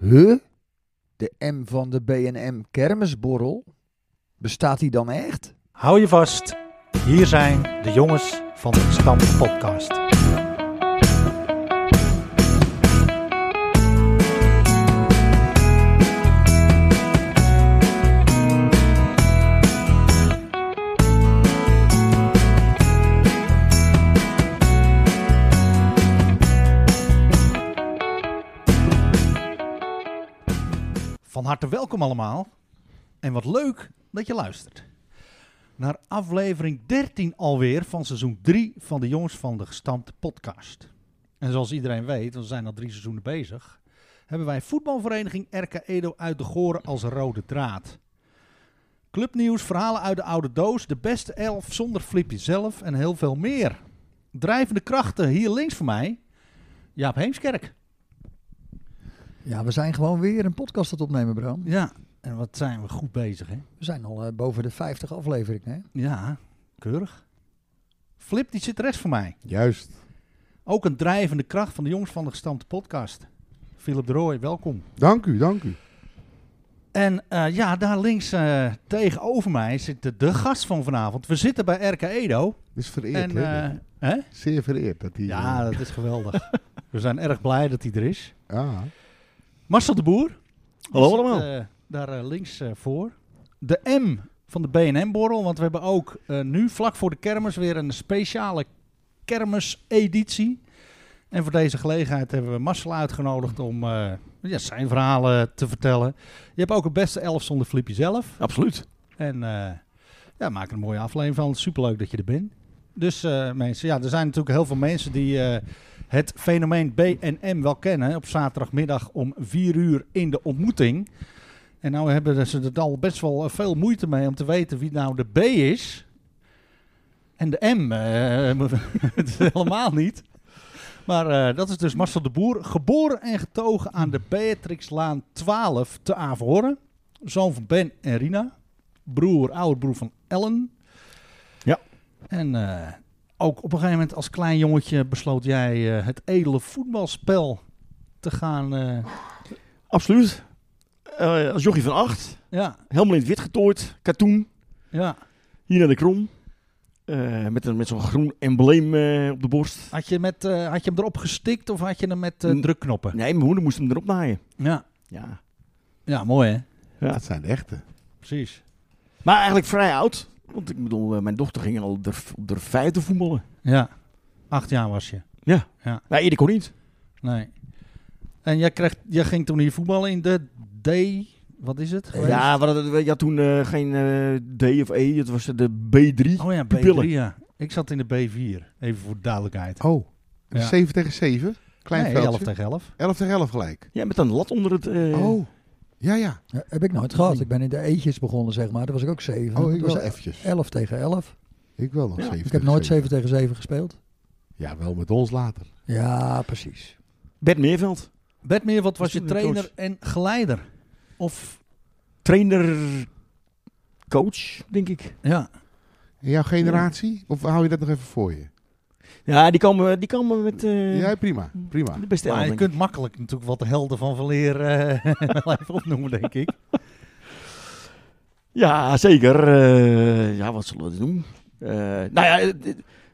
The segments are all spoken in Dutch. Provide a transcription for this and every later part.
Huh? De M van de BNM Kermisborrel? Bestaat die dan echt? Hou je vast, hier zijn de jongens van de Stam Podcast. Van harte welkom allemaal en wat leuk dat je luistert. Naar aflevering 13 alweer van seizoen 3 van de Jongens van de Gestampte podcast. En zoals iedereen weet, want we zijn al drie seizoenen bezig, hebben wij voetbalvereniging RK Edo uit de Goren als rode draad. Clubnieuws, verhalen uit de oude doos, de beste elf zonder Flipje zelf en heel veel meer. Drijvende krachten hier links van mij, Jaap Heemskerk. Ja, we zijn gewoon weer een podcast aan het opnemen, Bram. Ja, en wat zijn we goed bezig hè? We zijn al eh, boven de 50 afleveringen. Hè? Ja, keurig. Flip, die zit rechts van mij. Juist. Ook een drijvende kracht van de jongens van de gestampte podcast. Philip de Rooij, welkom. Dank u, dank u. En eh, ja, daar links eh, tegenover mij zit de, de gast van vanavond. We zitten bij RK Edo. Is vereerd, en, hè? eh, hè? Zeer vereerd dat eh, hij... Ja, dat is geweldig. We zijn erg blij dat hij er is. ja. Marcel de Boer. Hallo Die zit, allemaal. eh, daar eh, links eh, voor. De M van de BNM-borrel. Want we hebben ook eh, nu vlak voor de kermis weer een speciale kermiseditie. En voor deze gelegenheid hebben we Marcel uitgenodigd om eh, ja, zijn verhalen te vertellen. Je hebt ook het beste elf zonder Flipje zelf. Absoluut. En eh, ja, maak er een mooie aflevering van. Superleuk dat je er bent. Dus eh, mensen, ja, er zijn natuurlijk heel veel mensen die eh, het fenomeen BNM wel kennen. Op zaterdagmiddag om 4 uur in de ontmoeting. En nou hebben ze er al best wel eh, veel moeite mee om te weten wie nou de B is. En de M, eh, het is helemaal niet. Maar eh, dat is dus Marcel de Boer, geboren en getogen aan de Beatrixlaan 12 te Averhoorn. Zoon van Ben en Rina broer, oude broer van Ellen. Ja. En eh, ook op een gegeven moment als klein jongetje besloot jij eh, het edele voetbalspel te gaan. eh, Absoluut. Eh, als jochie van acht. ja, Helemaal in het wit getooid. Katoen. ja. Hier naar de krom. Eh, met een- met zo'n groen embleem eh, op de borst. Had, je met, eh, had je hem erop gestikt of had je hem met eh, N- drukknoppen? Nee, mijn moeder moest hem erop naaien. Ja. Ja. ja, mooi hè? Ja. dat zijn de echte. Precies. Maar eigenlijk vrij oud. Want ik bedoel, eh, mijn dochter ging al de, op de vijfde voetballen. Ja, acht jaar was je. Nee, eerder kon niet. Nee. En jij, kreeg, jij ging toen hier voetballen in de D. Wat is het? geweest? Ja, we hadden, we- je had toen eh, geen eh, D of E. Het was de B3. Oh ja, B3. Pupillen. Ja. Ik zat in de B4. Even voor de duidelijkheid. Oh, Ja. 7 tegen 7. Klein nee, 11 veldje. tegen 11. 11 tegen 11 gelijk. Ja, met een lat onder het... eh, Oh, ja, ja. Ja, heb ik nooit gehad. Ik ben in de eetjes begonnen, zeg maar. Daar was ik ook 7. Oh, ik was wel eventjes. 11 tegen 11. Ik wel nog Ja, 7 Ik heb nooit 7 7. tegen 7 gespeeld. Ja, wel met ons later. Ja, precies. Bert Meerveld. Bert Meerveld was Is je toen de trainer coach. en geleider. Of Trainer... Coach, denk ik. ja, En jouw generatie? Of hou je dat nog even voor je? Ja, die komen, die komen met eh, ja, prima. Prima. de beste maar elf, je denk ik. kunt makkelijk natuurlijk wat de helden van Verleer eh, wel even opnoemen, denk ik. Ja, zeker. Eh, ja, wat zullen we doen? Eh, nou ja, eh,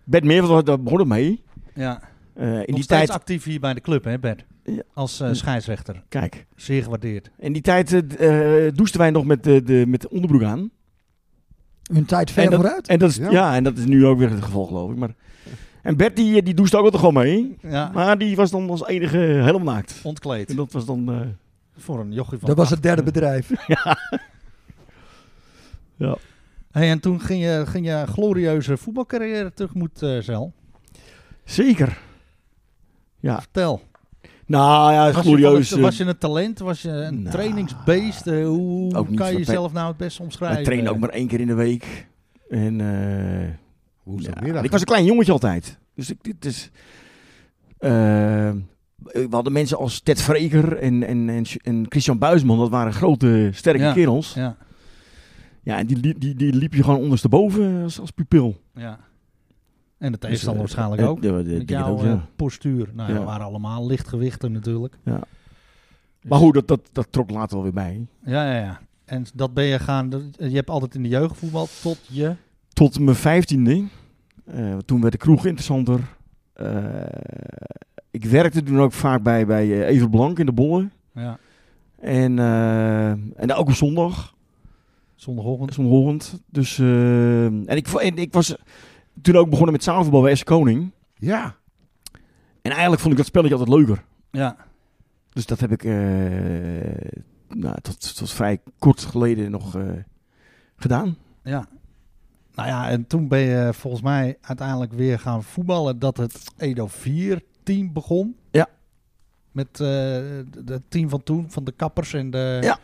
Bert Meerveld, daar begon het mee. Ja, Eh, in nog die steeds tijd... actief hier bij de club, hè Bert? Ja. Mm. Als eh, scheidsrechter. Kijk, Zeer gewaardeerd. in die tijd eh, d- eh, douchten wij nog met de, de, met de onderbroek aan. Hun tijd ver En dat- vooruit. En dat is, Ja. ja. en dat is nu ook weer het geval, geloof ik. Maar, en Bert, die, eh, die douchte ook altijd gewoon mee. Ja, Maar die was dan als enige helemaal naakt. En ontkleed. dat was dan... eh, Voor een jochie van Dat was acht. het derde bedrijf. Hey, en toen ging je, ging je glorieuze voetbalcarrière tegemoet, eh Zel. zeker. Ja, Vertel. nou ja, Was je, wel glorieus. een- was je een talent? Was je een nou, trainingsbeest? Eh, hoe ook niet kan je zo- jezelf nou het best eh, omschrijven? Hij trainde ook maar één keer in de week. En... eh, Ja, Woensdagmiddag. maar ik was een klein jongetje altijd. Dus ik, dit is. eh, we hadden mensen als Ted Vreker en, en, en, en Christian Buisman. Dat waren grote, sterke Ja. kerels. Ja, Ja, en die, liep- die, die liep je gewoon ondersteboven als, als pupil. ja. En de Dus, tegenstander eh, waarschijnlijk eh, ook. ja, dat denk Met ik jouw ook, eh, ja. postuur. Nou, ja, Ja. we waren allemaal lichtgewichten natuurlijk. Ja. Maar goed, dat, dat, dat trok later wel weer bij. Dus Ja, ja, ja. En dat ben je gaan... dat- Je hebt altijd in de jeugd voetbal tot je... Tot mijn vijftiende. eh, toen werd de kroeg interessanter. Eh, ik werkte toen ook vaak bij, bij eh, Ever Blank in de Bolle. Ja, En, eh, en ook op zondag. zondagochtend. Zondagochtend. Dus, eh, en, ik, vo- en ik was toen ook begonnen met zaalvoetbal bij S. Koning. Ja. En eigenlijk vond ik dat spelletje altijd leuker. Ja. Dus dat heb ik eh, nou, tot, tot vrij kort geleden nog eh, gedaan. Ja. Nou ja, en toen ben je volgens mij uiteindelijk weer gaan voetballen dat het Edo 4 team begon. Ja. Met het team van toen, van de kappers en de Ja.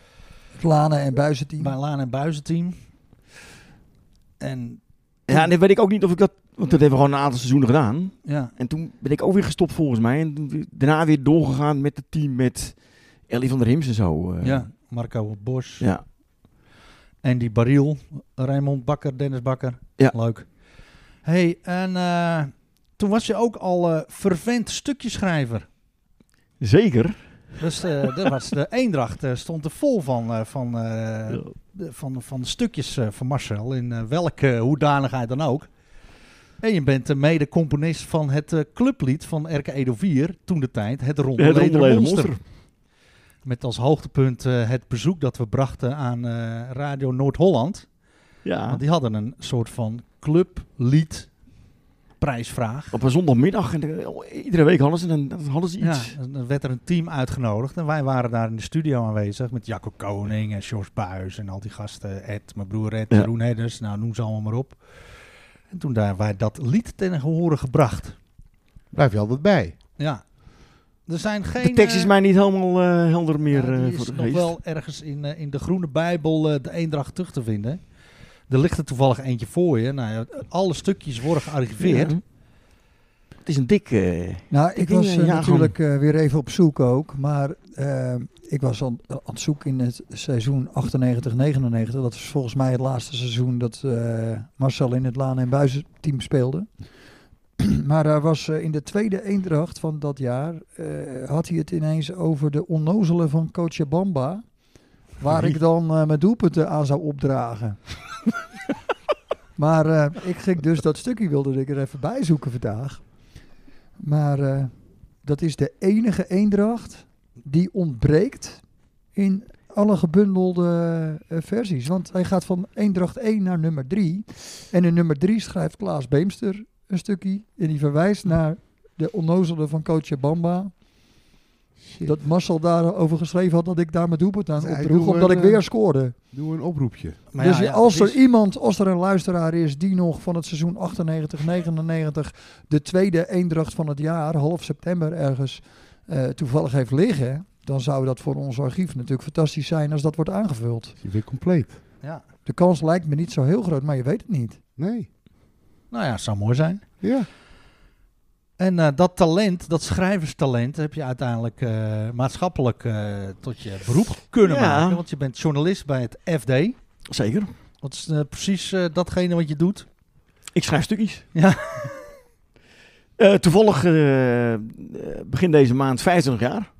Planen en buizenteam. bij Laan en Buizen team. En Ja, en dan weet ik ook niet of ik dat... Want dat hebben we gewoon een aantal seizoenen gedaan. ja, En toen ben ik ook weer gestopt volgens mij. En toen weer- daarna weer doorgegaan met het team met Ellie van der Hims en zo. eh. ja. Marco Bos, ja. Andy Bariel, Raymond Bakker, Dennis Bakker. Ja. Leuk. hey, en eh, toen was je ook al eh, vervent stukjeschrijver. Zeker. Dus eh, dat was de Eendracht eh, stond er vol van, eh, van, eh, de- van, van stukjes eh, van Marcel, in eh, welke hoedanigheid dan ook. En je bent de mede-componist van het eh, clublied van Erke Edo 4, toen de tijd, Het Ronde Het Lederen Ronde Lederen Monster. Monster. Met als hoogtepunt eh, het bezoek dat we brachten aan eh, Radio Noord-Holland. Ja. Want die hadden een soort van clublied prijsvraag. Op een zondagmiddag. En eh, iedere week hadden ze, dan, dan hadden ze Ja, iets. en dan werd er een team uitgenodigd en wij waren daar in de studio aanwezig met Jacco Koning en George Buis en al die gasten. Ed, mijn broer Ed, Ja. Jeroen Hedders, nou noem ze allemaal maar op. En toen daar wij dat lied ten gehore gebracht. Blijf je altijd bij. Ja, er zijn geen... De tekst is eh, mij niet helemaal eh, helder ja, meer die eh, is voor de nog geest. wel ergens in, eh, in de Groene Bijbel eh, de Eendracht terug te vinden. Er ligt er toevallig eentje voor je. Nou, ja, alle stukjes worden gearchiveerd. Ja. Het is een dik... eh, Nou, ik Die was dingen, eh, ja, natuurlijk eh, weer even op zoek ook. Maar eh, ik was aan, aan het zoek in het seizoen 98-99. Dat is volgens mij het laatste seizoen dat eh, Marcel in het Laan- en Buizenteam speelde. maar daar was eh, in de tweede eendracht van dat jaar... eh, had hij het ineens over de onnozelen van Cochabamba... Waar ik dan eh, mijn doelpunten aan zou opdragen. maar eh, ik ging dus dat stukje wilde ik er even bij zoeken vandaag. Maar eh, dat is de enige eendracht die ontbreekt in alle gebundelde eh, versies. Want hij gaat van eendracht 1 naar nummer 3. En in nummer 3 schrijft Klaas Beemster een stukje. En die verwijst naar de onnozelen van coach Bamba. Shit. Dat Marcel daarover geschreven had dat ik daar mijn doelpunt aan Nee, opdroeg, doe omdat een, ik weer eh, scoorde. Doe een oproepje. Maar dus ja, ja, als het er is- iemand, als er een luisteraar is die nog van het seizoen 98, 99, de tweede eendracht van het jaar, half september ergens, eh, toevallig heeft liggen, dan zou dat voor ons archief natuurlijk fantastisch zijn als dat wordt aangevuld. Is je weer compleet? Ja. De kans lijkt me niet zo heel groot, maar je weet het niet. Nee. Nou ja, zou mooi zijn. Ja. En eh, dat talent, dat schrijverstalent, heb je uiteindelijk eh, maatschappelijk eh, tot je beroep kunnen Ja. maken. Want je bent journalist bij het FD. zeker. Dat is eh, precies eh, datgene wat je doet. Ik schrijf stukjes. Ja. Eh, toevallig eh, eh, begin deze maand 25 jaar.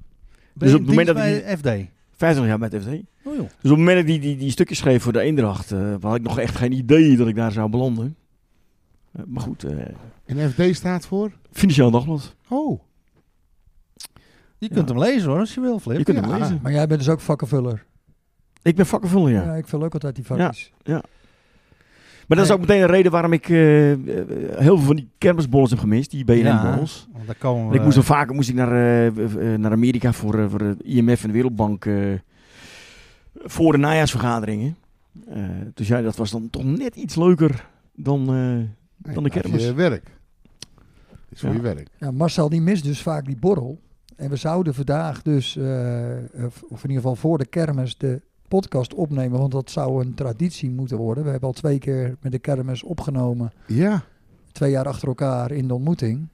Ben je Dus op het in moment dienst dat bij ik FD. 25 jaar met FD. Oh joh. Dus op het moment dat ik die, die, die stukjes schreef voor de Eendracht, eh, had ik nog echt geen idee dat ik daar zou belanden. Eh, maar goed, eh, En FD staat voor? Financieel Dagblad. Oh. Je kunt Ja. hem lezen hoor, als je wil, Flip. Je kunt Ja. hem lezen. Maar jij bent dus ook vakkenvuller. Ik ben vakkenvuller, ja. Ja, ik vul ook altijd die vakjes. Maar dat is Nee. ook meteen een reden waarom ik eh, eh, heel veel van die kermisbollens heb gemist, die BNN-borrels. Want daar komen Want we. Ik moest dan vaker moest ik naar, eh, eh, naar Amerika voor, eh, voor het IMF en de Wereldbank eh, voor de najaarsvergaderingen. Eh, dus ja, dat was dan toch net iets leuker dan... eh, Nee, Dan de dat is kermis. je werk. Dat is voor Ja. je werk. Ja, Marcel die mist dus vaak die borrel. En we zouden vandaag dus, eh, of of in ieder geval voor de kermis, de podcast opnemen. Want dat zou een traditie moeten worden. We hebben al twee keer met de kermis opgenomen. Ja. Twee jaar achter elkaar in de ontmoeting.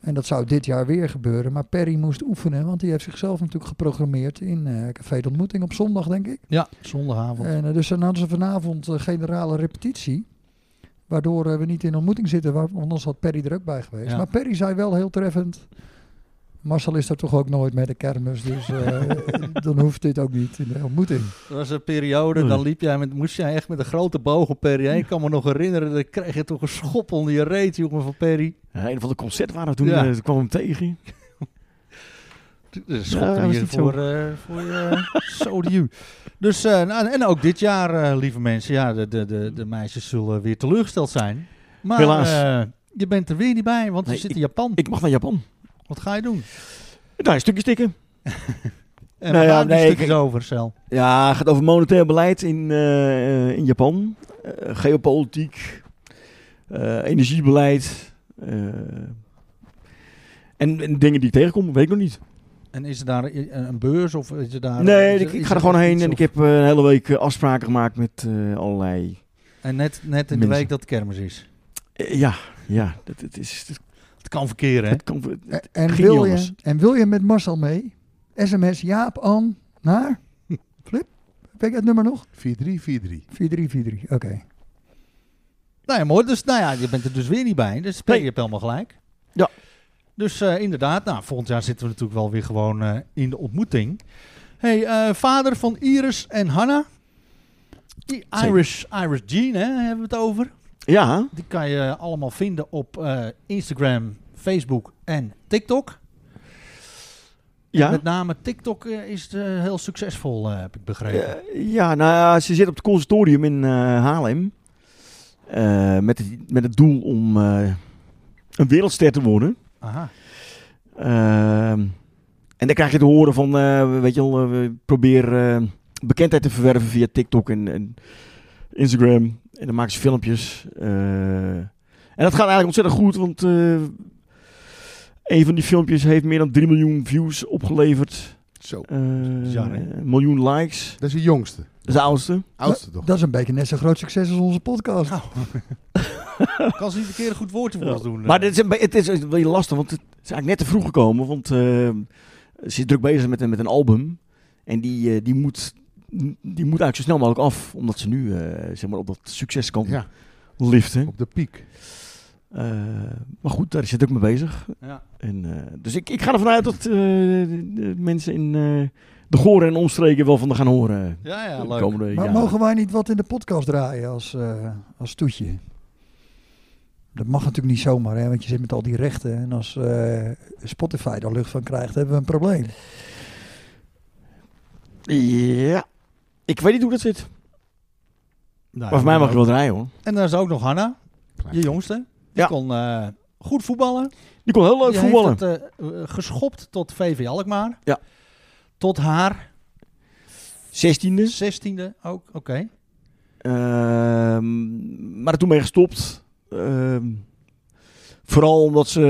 En dat zou dit jaar weer gebeuren. Maar Perry moest oefenen, want die heeft zichzelf natuurlijk geprogrammeerd in eh, Café de Ontmoeting op zondag, denk ik. Ja, zondagavond. En eh, dus dan hadden ze vanavond eh, generale repetitie. Waardoor eh, we niet in ontmoeting zitten, waar, want anders had Perry er ook bij geweest. Ja. Maar Perry zei wel heel treffend. Marcel is er toch ook nooit met de kermis, dus eh, dan hoeft dit ook niet in de ontmoeting. Er was een periode, dan liep jij met, moest jij echt met een grote boog op Perry heen. Ik kan me nog herinneren, dan kreeg je toch een schop onder je reet, jongen, van Perry. Ja, eh, een of ander concert waren we toen, Ja. eh, toen kwam hem tegen. Dus Ja, dat was je niet voor, eh voor je sodium. Dus, eh, nou, en ook dit jaar, eh, lieve mensen, ja, de, de, de, de meisjes zullen weer teleurgesteld zijn. Maar Helaas. eh, je bent er weer niet bij, want Nee, je zit ik- in Japan. Ik mag naar Japan. Wat ga je doen? Daar een stukje stikken. En Nou we ja, gaan die nee, stukjes ik- over, Cel. Ja, het gaat over monetair beleid in, eh, eh, in Japan. Eh, geopolitiek. eh, energiebeleid. eh, en, en dingen die ik tegenkom, weet ik nog niet. En is er daar i- eh, een beurs of is er daar... Nee, eh, is er- ik, ik is ga er er gewoon iets heen en of- ik heb eh, een hele week eh, afspraken gemaakt met eh, allerlei... En net, net in de Mensen. week dat de kermis is. Eh, ja, ja, dat, dat is... Dat, Het kan verkeren, hè? dat kan, E- En ging wil, niet je, anders. en wil je met Marcel mee? SMS Jaap An naar? Flip? Weet ik het nummer nog? 4-3, 4-3. 4343, oké. Nou ja, mooi. Dus nou ja, je bent er dus weer niet bij. Dus Perry Nee. hebt helemaal gelijk. Ja. Dus eh, inderdaad, nou, volgend jaar zitten we natuurlijk wel weer gewoon eh, in de ontmoeting. hey, eh, vader van Iris en Hannah. Die Zeker. Irish, Irish Jean, hè, hebben we het over. ja, Die kan je allemaal vinden op eh, Instagram, Facebook en TikTok. ja. Met name TikTok eh, is eh, heel succesvol, eh, heb ik begrepen. Eh, ja, nou ja, ze zit op het conservatorium in eh, Haarlem. Eh, met, het, met het doel om eh, een wereldster te worden. Aha. Ehm, en dan krijg je te horen van, eh, weet je wel, eh, we probeer eh, bekendheid te verwerven via TikTok en, en Instagram. En dan maken ze filmpjes. eh. en dat gaat eigenlijk ontzettend goed, want eh, een van die filmpjes heeft meer dan 3 miljoen views opgeleverd. Zo. Eh, bizar, hè? een miljoen likes. Dat is de jongste. Dat is de oudste. Oudste toch? Dat is een beetje net zo'n groot succes als onze podcast. Nou, kan ze niet een keer een goed woordje voor Ja. ons doen. eh. Maar dit is een be- het is een beetje lastig, want het is eigenlijk net te vroeg gekomen. Want eh, ze is druk bezig met een, met een album. En die, eh, die, moet, die moet eigenlijk zo snel mogelijk af. Omdat ze nu eh, zeg maar op dat succes kan Ja, Hm? liften. op de piek. Eh, maar goed, daar is ze druk mee bezig. Ja. En, eh, dus ik, ik ga ervan uit dat eh, de, de mensen in eh, de goren en omstreken wel van haar gaan horen. ja, Eh, ja, de leuk. komende maar jaren. mogen wij niet wat in de podcast draaien als, eh, als toetje? Dat mag natuurlijk niet zomaar, hè, want je zit met al die rechten. En als eh, Spotify daar lucht van krijgt, hebben we een probleem. Ja. Ik weet niet hoe dat zit. Nou, Maar voor mij mag ook. je wel draaien hoor. En dan is ook nog Hanna, Klein. je jongste. Die Ja. kon eh, goed voetballen. Die kon heel leuk Die voetballen. heeft het eh, eh, geschopt tot VV Alkmaar. Ja. Tot haar Zestiende. zestiende ook, oké. Ehm, maar toen ben ik gestopt. Ehm, vooral omdat ze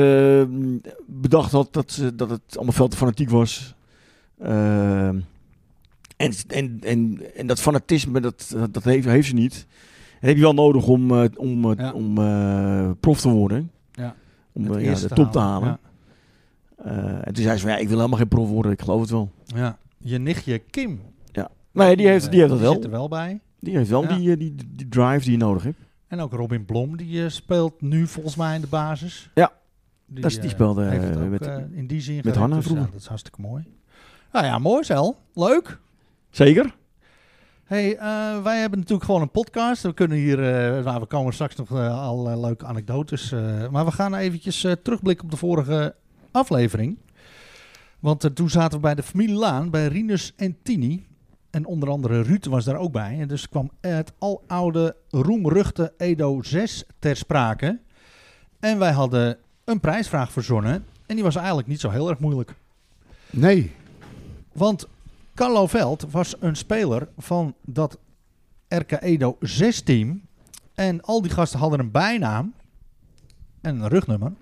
ehm, bedacht had dat, ze, dat het allemaal veel te fanatiek was. Ehm, en, en, en, en dat fanatisme, dat, dat heeft, heeft ze niet. Dat heb je wel nodig om, eh, om, eh, Ja. om eh, prof te worden. Ja. Om Het eh, ja, eerste de top te halen. halen, Eh, en toen zei ze van, ja, ik wil helemaal geen prof worden, ik geloof het wel. Ja. Ja. Je nichtje Kim. Nee, die heeft, eh, die heeft dat zit wel. er wel bij. Die heeft wel Ja. die, eh, die, die drive die je nodig hebt. En ook Robin Blom, die eh, speelt nu volgens mij in de basis. Ja. Die, Dat is- die eh, speelde, heeft het eh, ook, met- eh, in die zin Hanna gered, dus, vroeger. nou, dat is hartstikke mooi. Nou ja, mooi Cel. Leuk. Zeker? Hey, eh, wij hebben natuurlijk gewoon een podcast. We kunnen hier, eh, nou, we komen straks nog eh, allerlei leuke anekdotes. eh, maar we gaan eventjes eh, terugblikken op de vorige aflevering. Want eh, toen zaten we bij de familie Laan, bij Rinus en Tini. En onder andere Ruud was daar ook bij. En dus kwam het aloude roemruchte Edo 6 ter sprake. En wij hadden een prijsvraag verzonnen. En die was eigenlijk niet zo heel erg moeilijk. Nee. Want Carlo Veld was een speler van dat RK Edo 6-team. En al die gasten hadden een bijnaam en een rugnummer.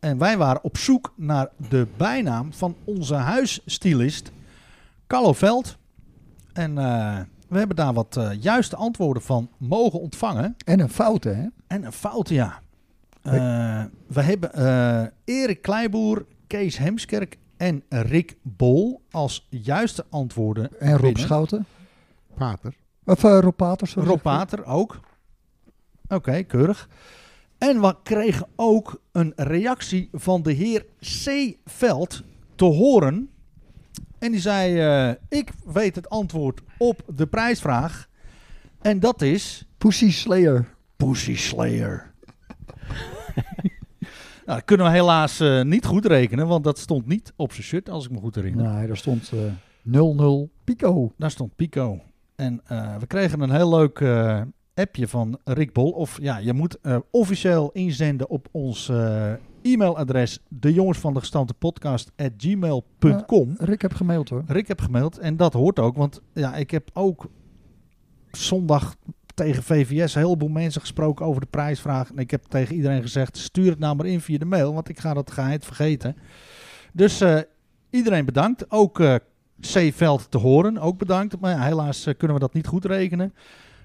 En wij waren op zoek naar de bijnaam van onze huisstylist, Carlo Veld. En eh, we hebben daar wat eh, juiste antwoorden van mogen ontvangen. En een fout, hè? En een fout, ja. Eh, we hebben eh, Erik Kleiboer, Kees Hemskerk en Rick Bol als juiste antwoorden. En Rob Winnen. Schouten. Pater. Of eh, Rob Paters. sorry. Rob Pater ook. Oké, keurig. En we kregen ook een reactie van de heer C. Veld te horen. En die zei: eh, Ik weet het antwoord op de prijsvraag. En dat is. Pussy Slayer. Pussy Slayer. nou, dat kunnen we helaas eh, niet goed rekenen, want dat stond niet op zijn shirt, als ik me goed herinner. Nee, daar stond eh 0-0 Pico. Daar stond Pico. En eh, we kregen een heel leuk eh, appje van Rick Bol. Of ja, je moet eh, officieel inzenden op ons eh, e-mailadres: de jongens van de gestampte podcast at gmail.com. Rick heb gemaild hoor. Rick heb gemaild en dat hoort ook, want ja, ik heb ook zondag tegen VVS een heleboel mensen gesproken over de prijsvraag. En ik heb tegen iedereen gezegd, stuur het nou maar in via de mail, want ik ga dat geheid vergeten. Dus eh, iedereen bedankt. Ook eh, C. Veld te horen, ook bedankt. Maar ja, helaas eh, kunnen we dat niet goed rekenen.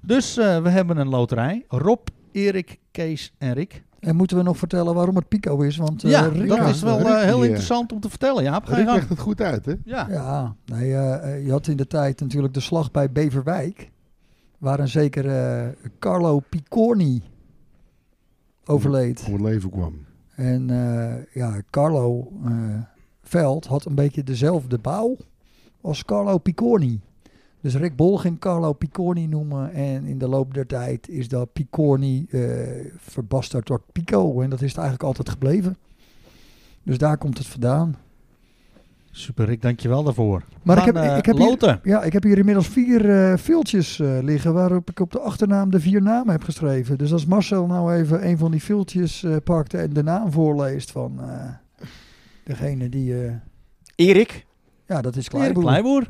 Dus eh, we hebben een loterij. Rob, Erik, Kees en Rick. En moeten we nog vertellen waarom het Pico is? Want eh, ja, Rick dat had- is wel Rick eh, heel hier. interessant om te vertellen. Jaap, ga je Rick gang. legt het goed uit, hè? Ja. Ja, nee, eh, eh, je had in de tijd natuurlijk de slag bij Beverwijk. Waar een zekere eh, Carlo Picorni overleed. Hoe het leven kwam. En eh, ja, Carlo eh, Veld had een beetje dezelfde bouw als Carlo Picorni. Dus Rick Bol ging Carlo Picorni noemen. En in de loop der tijd is dat Picorni eh verbasterd door Pico. En dat is het eigenlijk altijd gebleven. Dus daar komt het vandaan. Super Rick, dankjewel daarvoor. Maar We ik gaan, heb- eh, ik heb hier- loten. Ja, ik heb hier inmiddels vier eh viltjes eh, liggen waarop ik op de achternaam de vier namen heb geschreven. Dus als Marcel nou even een van die viltjes eh, pakt en de naam voorleest van eh, degene die... eh, Erik. ja, dat is Erik Kleiboer. Kleiboer.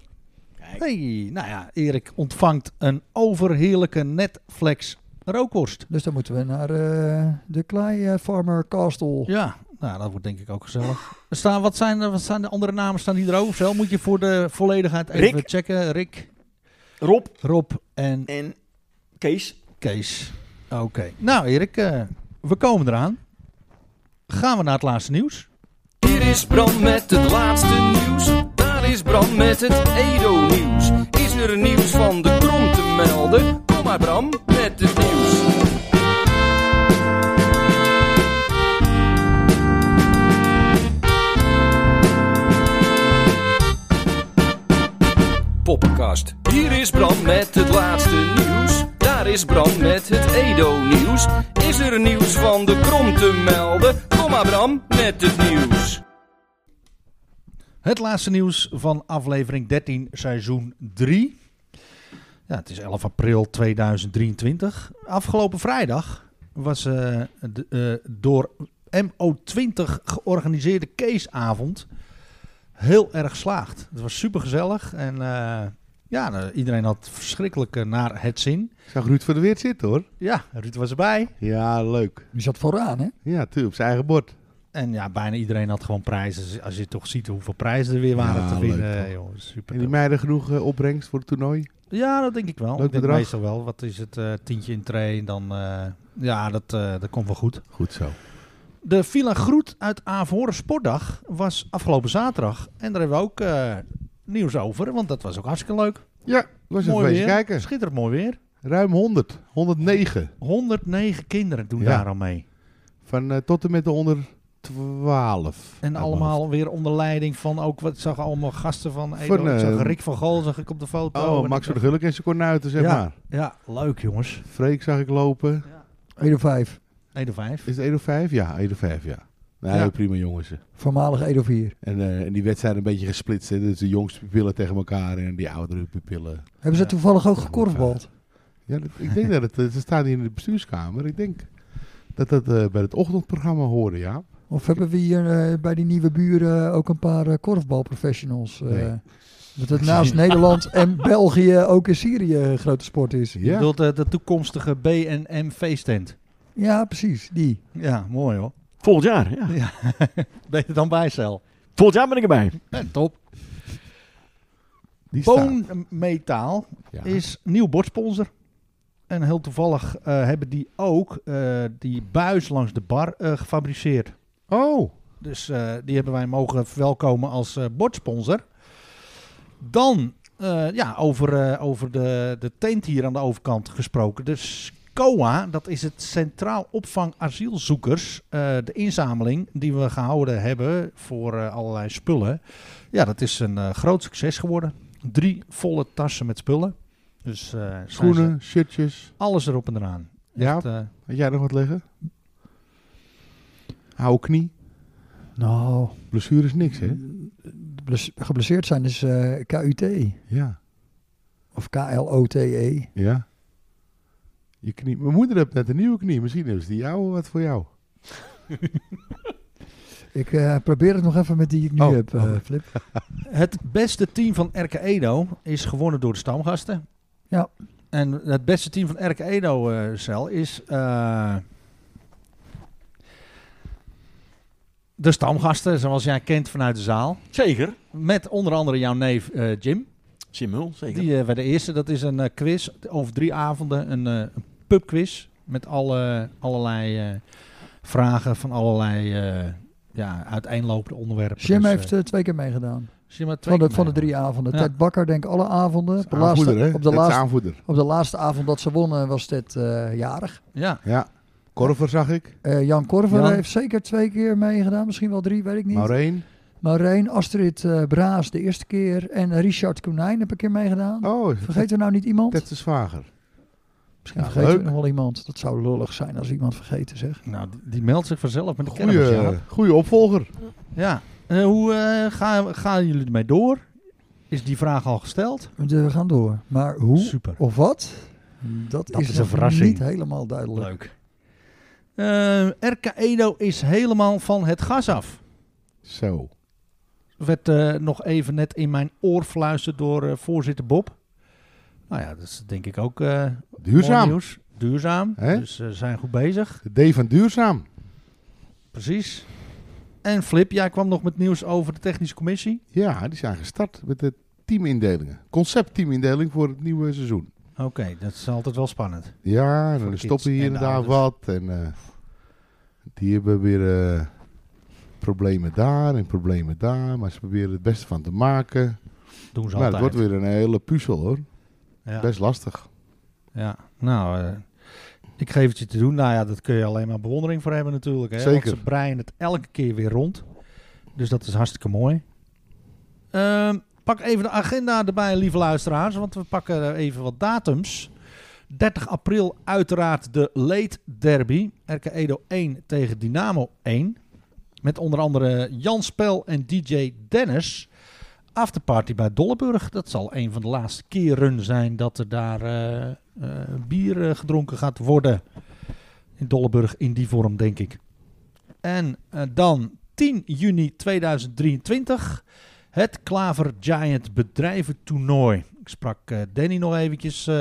Hey, nou ja, Erik ontvangt een overheerlijke Netflix rookworst. Dus dan moeten we naar eh, de Klei eh, Farmer Castle. Ja, nou dat wordt denk ik ook gezellig. Er Staan, wat, zijn, er- wat zijn de andere namen staan die er ook? Zo moet je voor de volledigheid even Rick. checken. Rick, Rob. Rob en En Kees. Kees. Oké. Nou Erik, eh, we komen eraan. Gaan we naar het laatste nieuws? Hier is Bram met het laatste nieuws. Daar is Bram met het Edo-nieuws. Is er nieuws van de krom te melden? Kom maar Bram met het nieuws. Poppenkast. Hier is Bram met het laatste nieuws. Daar is Bram met het Edo-nieuws. Is er nieuws van de krom te melden? Kom maar Bram met het nieuws. Het laatste nieuws van aflevering 13, seizoen 3. Ja, het is 11 april 2023. Afgelopen vrijdag was eh, de, eh, door MO20 georganiseerde caseavond heel erg geslaagd. Het was super gezellig en eh, ja, eh, iedereen had verschrikkelijk eh, naar het zin. Ik zag Ruud van der Weert zitten, hoor. Ja, Ruud was erbij Ja, leuk. Die zat vooraan, hè? Ja, natuurlijk, op zijn eigen bord. en ja, bijna iedereen had gewoon prijzen. Als je toch ziet hoeveel prijzen er weer waren Ja, te leuk, winnen. toch? joh, super En die meiden genoeg eh, opbrengst voor het toernooi. Ja, dat denk ik wel. Leuk ik denk bedrag. meestal wel. Wat is het? eh, tientje in train, dan... eh, ja, dat, eh, dat komt wel goed. Goed zo. De Villa Groet uit Averhoren Sportdag was afgelopen zaterdag. En daar hebben we ook eh, nieuws over, want dat was ook hartstikke leuk. Ja, het was een mooi feestje weer. kijken. Schitterend mooi weer. Ruim 100. 109. 109 kinderen doen Ja. daar al mee. Van eh, tot en met de Oh, onder 12. En allemaal weer onder leiding van ook... Wat ik zag allemaal gasten van... Edo. Van, ik zag eh, Rick van Gaal, zag ik op de foto. En Oh, ik Max van de dacht- Gullik en zijn kornuiten, zeg Ja. maar. Ja, leuk jongens. Freek zag ik lopen. 1 5. 1 of 5. Is het 1 of 5? Ja, 1 of 5, ja. Nee, Ja. prima jongens. En, Voormalig 1 4. eh, en die wedstrijd een beetje gesplitst. Hè. Dus de jongste pupillen tegen elkaar en die oudere pupillen. Hebben ze Ja. toevallig ook gekorfbald? Ja, dat- ik denk dat het... eh, Ze staan hier in de bestuurskamer. Ik denk dat dat eh, bij het ochtendprogramma hoorde, ja. Of hebben we hier eh, bij die nieuwe buren ook een paar eh, korfbalprofessionals? eh, Nee. Dat het naast Nederland en België ook in Syrië een grote sport is. Je Ja, bedoelt eh, de toekomstige B&M feesttent. Ja, precies, die. Ja, mooi hoor. Volgend jaar, ja. Beter dan bijcel. Volgend jaar ben ik erbij. En top. die staat. Boonmetaal Ja. is nieuw bordsponsor. En heel toevallig eh, hebben die ook eh, die buis langs de bar eh, gefabriceerd. Oh, Dus eh, die hebben wij mogen verwelkomen als eh, bordsponsor. Dan, eh, ja, over, eh, over de, de tent hier aan de overkant gesproken. Dus COA, dat is het Centraal Opvang Asielzoekers, eh, de inzameling die we gehouden hebben voor eh, allerlei spullen. Ja, dat is een eh, groot succes geworden. Drie volle tassen met spullen. Dus eh, zijn ze- Schoenen, shirtjes. alles erop en eraan. Ja, Echt, eh, had jij nog wat liggen? Hou knie. Nou, Blessure is niks, hè? bless- geblesseerd zijn is eh, KUT Ja. of KLOTE. Ja. Je knie. Mijn moeder heeft net een nieuwe knie. Misschien is die oude wat voor jou. Ik eh, probeer het nog even met die ik nu Oh, heb, eh, oh. Flip. Het beste team van RK Edo is gewonnen door de stamgasten. Ja. En het beste team van RK Edo eh, cel is eh, de stamgasten, zoals jij kent vanuit de zaal. Zeker. Met onder andere jouw neef eh, Jim. Jim Hul, zeker. Die eh, werd de eerste. Dat is een eh, quiz over drie avonden. Een eh, een pubquiz met alle, allerlei eh, vragen van allerlei eh, ja, uiteenlopende onderwerpen. Jim Dus, eh, heeft eh, twee keer meegedaan. Jim had twee Van de, keer van de meegedaan. drie avonden. Ja. Ted Bakker, denk ik, alle avonden. Op de, aanvoerder, laatste, hè? op, de Dat is laatste, aanvoerder. op de laatste avond dat ze wonnen was dit eh, jarig. Ja. Ja. Korver zag ik. Eh, Jan Korver Jan. heeft zeker twee keer meegedaan. Misschien wel drie, weet ik niet. Maureen. Maureen, Astrid eh, Braas de eerste keer. En eh, Richard Konijn heb een keer meegedaan. Oh, Vergeet er nou niet iemand? Ted de Zwager. Misschien Ja, vergeten leuk. we nog wel iemand. Dat zou lullig zijn als iemand vergeten zeg. Nou, die, die meldt zich vanzelf met de kennis. Ja. Goeie, goeie opvolger. ja. Eh, hoe eh, gaan, gaan jullie ermee door? Is die vraag al gesteld? eh, We gaan door. Maar hoe Super. of wat? Dat, Dat is, is een nog verrassing. niet helemaal duidelijk. Leuk. Eh, RK Edo is helemaal van het gas af. Zo. Werd eh, nog even net in mijn oor fluisterd door eh, voorzitter Bob. Nou ja, dat is denk ik ook eh, mooi Duurzaam. nieuws. Duurzaam. Hè? Dus ze zijn goed bezig. De D van duurzaam. Precies. En Flip, jij kwam nog met nieuws over de technische commissie. Ja, die zijn gestart met de teamindelingen. Concept teamindeling voor het nieuwe seizoen. Oké, dat is altijd wel spannend. Ja, Voor dan de stoppen kids hier en en de daar wat. En eh, die hebben weer eh, problemen daar en problemen daar. Maar ze proberen het beste van te maken. Doen ze Maar altijd. het Nou, wordt weer een hele puzzel hoor. Ja. Best lastig. Ja, nou, eh, ik geef het je te doen. Nou ja, dat kun je alleen maar bewondering voor hebben natuurlijk. Hè? Zeker. Want ze breien het elke keer weer rond. Dus dat is hartstikke mooi. Ehm, pak even de agenda erbij, lieve luisteraars. Want we pakken eh, even wat datums. 30 april uiteraard de Late Derby. RK Edo 1 tegen Dynamo 1. Met onder andere Jan Spel en DJ Dennis. Afterparty bij Dolleburg. Dat zal een van de laatste keren zijn dat er daar eh, eh, bier eh, gedronken gaat worden. In Dolleburg in die vorm, denk ik. En eh, dan 10 juni 2023. Het Klaver Giant bedrijventoernooi. Ik sprak eh, Danny nog eventjes eh,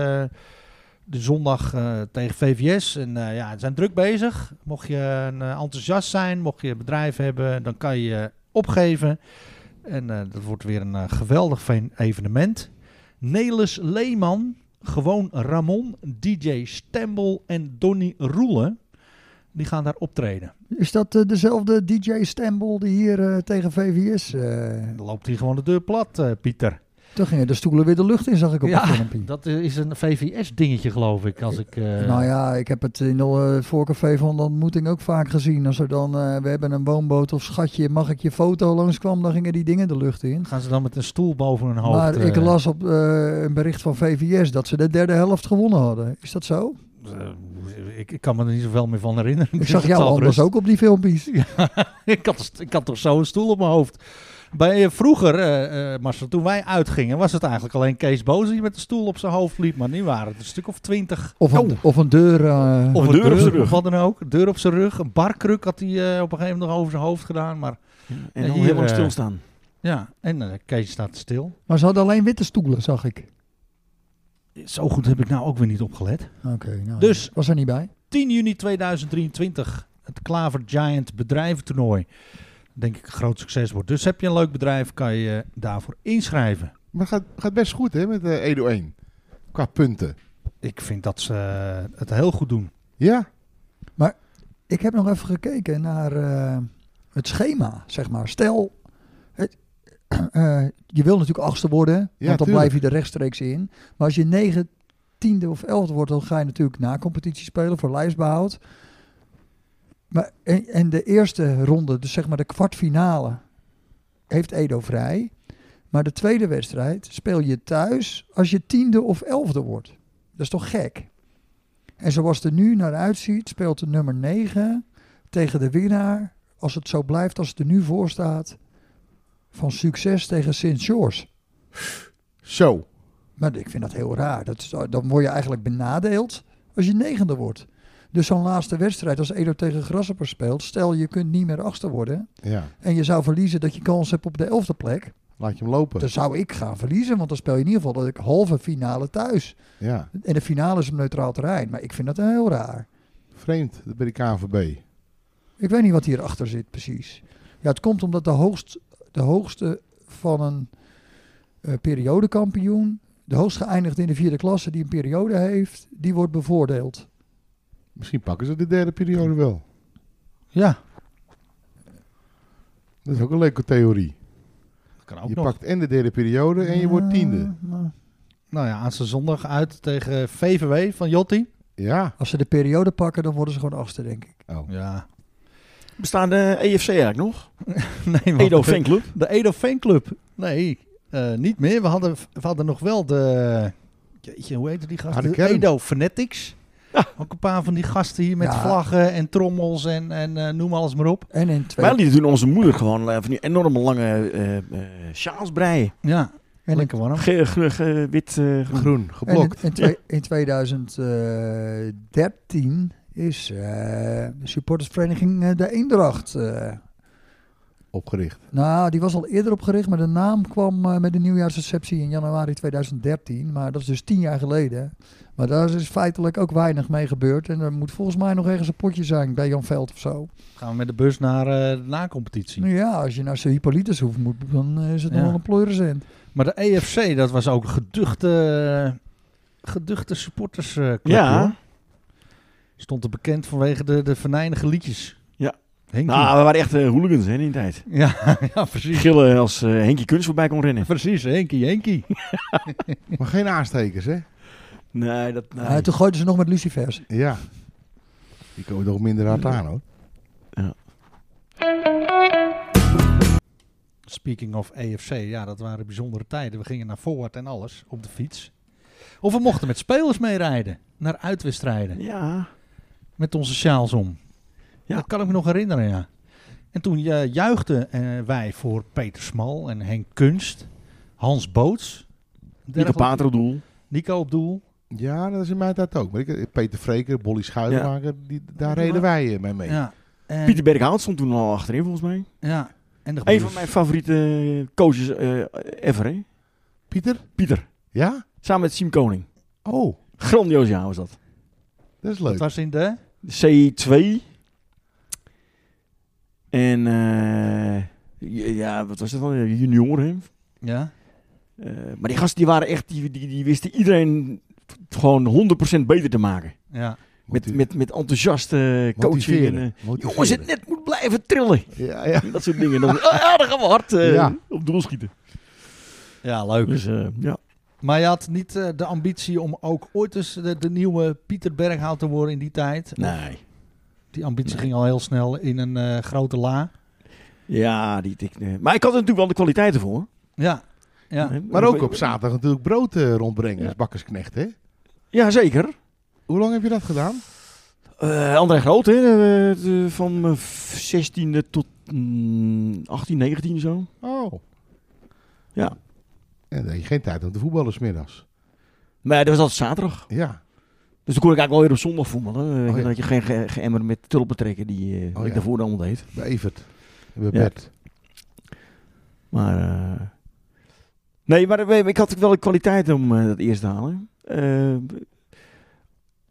de zondag eh, tegen VVS. En eh, ja, ze zijn druk bezig. Mocht je een, eh, enthousiast zijn, mocht je een bedrijf hebben, dan kan je je opgeven. En eh, dat wordt weer een eh, geweldig fe- evenement. Nelis Leeman, gewoon Ramon, DJ Stembel en Donny Roelen. Die gaan daar optreden. Is dat eh, dezelfde DJ Stembel die hier eh, tegen VVS... eh, Dan loopt hij gewoon de deur plat, eh, Pieter. toen gingen de stoelen weer de lucht in, zag ik op Ja. het filmpje. Dat eh, is een VVS-dingetje, geloof ik. Als ik eh, Nou ja, ik heb het in de eh, voorcafé van de ontmoeting ook vaak gezien. Als er dan, eh, we hebben een woonboot of schatje, mag ik je foto langskwam, dan gingen die dingen de lucht in. Gaan ze dan met een stoel boven hun hoofd? maar ik eh, las op eh, een bericht van VVS dat ze de derde helft gewonnen hadden. Is dat zo? eh, ik, ik kan me er niet zoveel meer van herinneren. Ik Dus zag het jou zal anders gerust- ook op die filmpjes. ik, had, ik had toch zo een stoel op mijn hoofd. Bij, eh, vroeger, eh, eh, Marcel, toen wij uitgingen, was het eigenlijk alleen Kees Boos die met de stoel op zijn hoofd liep. Maar nu waren het een stuk of twintig. Of Oh, een, of een deur. eh, Of een deur op zijn rug. Of wat dan ook. Een deur op zijn rug. Een barkruk had hij eh, op een gegeven moment nog over zijn hoofd gedaan. Maar En al hier, heel lang eh, stilstaan. ja, en eh, Kees staat stil. Maar ze hadden alleen witte stoelen, zag ik. Zo goed heb ik nou ook weer niet opgelet. Oké, nou, Dus- was er niet bij. 10 juni 2023. Het Klaver Giant bedrijventoernooi. Denk ik een groot succes wordt. Dus heb je een leuk bedrijf, kan je je daarvoor inschrijven. Maar het gaat, gaat best goed hè met eh Edo 1. Qua punten. Ik vind dat ze eh, het heel goed doen. Ja. Ik heb nog even gekeken naar eh, het schema, zeg maar. Stel, het, eh, je wil natuurlijk achtste worden, want dan tuurlijk. blijf je er rechtstreeks in. Maar als je negen tiende of elfde wordt, dan ga je natuurlijk na competitie spelen voor lijstbehoud. Maar, en, en de eerste ronde, dus zeg maar de kwartfinale, heeft Edo vrij. Maar de tweede wedstrijd speel je thuis als je tiende of elfde wordt. Dat is toch gek? En zoals het er nu naar uitziet, speelt de nummer 9 tegen de winnaar, als het zo blijft als het er nu voor staat, van succes tegen Sint George. Zo. Maar ik vind dat heel raar. Dat, is- dan word je eigenlijk benadeeld als je negende wordt. Dus zo'n laatste wedstrijd, als Edo tegen Grasshopper speelt, stel je kunt niet meer achter worden Ja, en je zou verliezen dat je kans hebt op de elfde plek, laat je hem lopen. dan zou ik gaan verliezen, want dan speel je in ieder geval de halve finale thuis. Ja, En de finale is op neutraal terrein, maar ik vind dat heel raar. vreemd bij de KNVB. Ik weet niet wat hierachter zit precies. Ja, het komt omdat de, hoogst, de hoogste van een eh, periodekampioen, de hoogst geëindigd in de vierde klasse die een periode heeft, die wordt bevoordeeld. Misschien pakken ze de derde periode wel. Ja, Dat is ook een leuke theorie. dat kan ook je nog. pakt en de derde periode en je wordt tiende. Ja, maar Nou ja, aanstaande zondag uit tegen VVW van Jotti. Ja. Als ze de periode pakken, dan worden ze gewoon achtste, denk ik. Oh. Ja. Bestaat de EFC eigenlijk nog? Nee, man. Edo Fanclub. De Edo Fanclub. Nee, eh, niet meer. We hadden, we hadden nog wel de... Jeetje, hoe heette die gasten? Ah, de De kern. Edo Fanatics. Ook een paar van die gasten hier met Ja. vlaggen en trommels en, en eh, noem alles maar op. En in twee, Wij lieten toen onze moeder gewoon eh, van die enorme lange eh eh, sjaals breien. Ja, en in, lekker warm. Ge- ge- ge- wit, eh, groen. Groen, en in, geblokt. in twee- in 2013 is eh, de supportersvereniging eh, De Eendracht eh, Opgericht. Nou, die was al eerder opgericht, maar de naam kwam eh, met de nieuwjaarsreceptie in januari 2013. Maar dat is dus tien jaar geleden. Maar daar is feitelijk ook weinig mee gebeurd. En er moet volgens mij nog ergens een potje zijn bij Jan Veld of zo. Gaan we met de bus naar eh, de na-competitie. Nou ja, als je naar zijn Hippolytus hoeft, moet, dan eh, is het Ja. nog wel een pleurisend. Maar de EFC, dat was ook een geduchte, geduchte supportersclub. Ja. hoor. Stond er bekend vanwege de, de venijnige liedjes. Ja. Henkie. Nou, we waren echt eh, hooligans hè, in die tijd. Ja, ja, precies. Gillen als eh Henkie Kunst voorbij kon rennen. Precies, Henkie, Henkie. Maar geen aanstekers, hè? Nee, dat... Eh, toen gooiden ze nog met lucifers. Ja. Die komen toch minder hard aan, hoor. Speaking of EFC, ja, dat waren bijzondere tijden. We gingen naar Forward en alles op de fiets. Of we mochten met spelers meerijden naar uitwedstrijden Ja. met onze sjaals om. Ja. Dat kan ik me nog herinneren, ja. En toen eh, juichten eh, wij voor Peter Smal en Henk Kunst, Hans Boots, Nico dergelijke- Pater op doel. Nico op doel. Ja, dat is in mijn tijd ook. Maar ik, Peter Vreker, Bolly Schuilenmaker, die, daar reden wij eh, mee mee. Ja. En, Pieter Berghout stond toen al achterin volgens mij. Ja. En de Een gebroeders- van mijn favoriete coaches eh, ever hè. Pieter? Pieter. Ja? Samen met Siem Koning. Oh, Grandioos jaar was dat. dat is Dat leuk. was in de... C2. En eh, ja, wat was dat dan? Junior hè. Ja. Eh, maar die gasten die waren echt, die, die, die wisten iedereen gewoon 100% beter te maken. Ja. Met, met, met enthousiaste coaching. En, Motiveren. eh, Motiveren. jongens, het net moet blijven trillen. Ja, ja. Dat soort dingen. Dan, ah, dan gaan we hard eh, Ja. op doel schieten. Ja, leuk. Dus eh, ja. Maar je had niet eh, de ambitie om ook ooit eens de, de nieuwe Pieter Berghout te worden in die tijd. Nee. Die ambitie ging al heel snel in een eh, grote la. Ja, die tik. nee. Maar ik had er natuurlijk wel de kwaliteiten voor. Ja, ja. Maar ook op zaterdag natuurlijk brood eh, rondbrengen als bakkersknecht, hè? Ja, zeker. Hoe lang heb je dat gedaan? Eh, André Groot, hè, eh, de- van mijn v- 16e tot mm, 18, 19 zo. Oh. Ja. En dan had je geen tijd om te voetballen smiddags. Maar dat was altijd zaterdag. Ja. Dus dan kon ik eigenlijk wel weer op zondag voetballen. Oh, ja. Dat je geen ge- geëmmer met tulpen trekken die eh, Oh, ik ja. daarvoor dan deed. Bij Evert. En Bij Ja. Bert. Maar. eh, nee, maar eh, ik had wel de kwaliteit om eh, dat eerst te halen. Eh,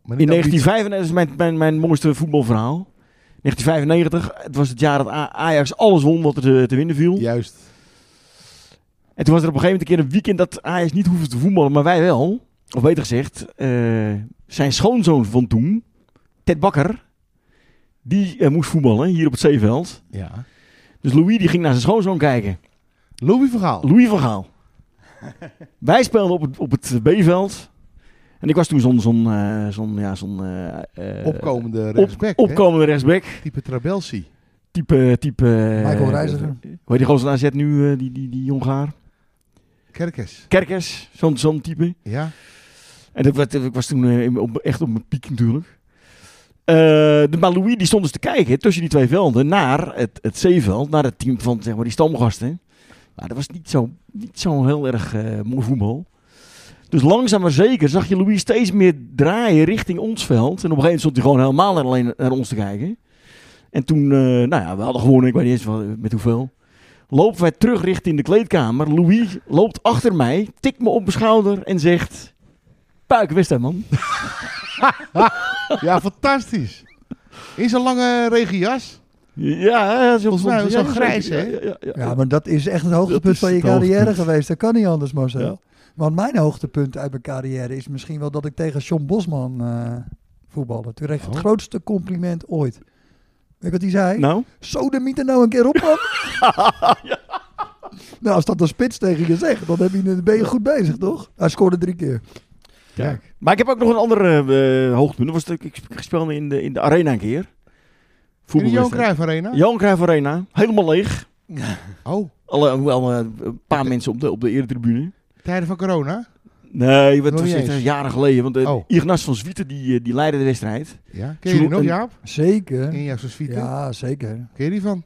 Maar In niet ambitie. 1995, dat is mijn, mijn, mijn mooiste voetbalverhaal. 1995, het was het jaar dat A- Ajax alles won wat er te, te winnen viel. Juist. En toen was er op een gegeven moment een keer een weekend dat Ajax niet hoefde te voetballen, maar wij wel. Of beter gezegd, eh, zijn schoonzoon van toen, Ted Bakker, die eh, moest voetballen hier op het zeeveld. Ja. Dus Louis die ging naar zijn schoonzoon kijken. Louis Vergaal. Louis van Gaal. wij speelden op het, op het B-veld. En ik was toen zo'n zo'n eh, zo'n ja, zo'n eh, eh, Opkomende op- rechtsback. hè? opkomende rechtsback. Type Trabelsi. Type, type... eh, Michael Reiziger. Hoe heet die gozer AZ nu, eh, die, die, die Hongaar? Kerkes. Kerkers, zo'n zo'n type. Ja. En dat, werd- ik was toen eh, in- op- echt op mijn piek natuurlijk. Eh, de, maar Louis die stond dus te kijken tussen die twee velden naar het, het zeeveld, naar het team van zeg maar, die stamgasten. Maar dat was niet zo'n niet zo heel erg eh, mooi voetbal. Dus langzaam maar zeker zag je Louis steeds meer draaien richting ons veld. En op een gegeven moment stond hij gewoon helemaal naar, alleen naar ons te kijken. En toen, eh, nou ja, we hadden gewonnen, ik weet niet eens wat- met hoeveel. Lopen wij terug richting de kleedkamer. Louis loopt achter mij, tikt me op mijn schouder en zegt... Puik wist hij, man. Ja, fantastisch. In zijn lange regenjas. Ja, zo, Volgens mij was ja, het wel grijs, hè? Ja, ja, ja. Ja, maar dat is echt het Dat hoogtepunt is van je het carrière hoogtepunt. geweest. Dat kan niet anders, Marcel. Ja. Want mijn hoogtepunt uit mijn carrière is misschien wel dat ik tegen John Bosman eh voetbalde. Toen kreeg ik het Oh. grootste compliment ooit. Weet je wat hij zei? Nou, Zo de mythe nou een keer op, man. Nou, als dat de spits tegen je zegt, dan heb je, dan ben je goed bezig, toch? Hij scoorde drie keer. Kijk. maar ik heb ook nog een andere eh, hoogtepunt. Dat was dat ik ik speelde in de, in de arena een keer. In de Johan Voetbalwedstrijd. Cruijff Arena. Johan Cruijff Arena. Helemaal leeg. Oh, Alhoewel eh, een paar mensen op de, op de eretribune. tijden van corona. Nee, het Nog was niet echt eens. jaren geleden. Want eh, Oh. Ignas van Zwieten die, eh, die leidde de wedstrijd. Ja. Ken je die Zo- nog, een- Jaap? In Zeker. jouw suite. Ja, zeker. Ken je die van?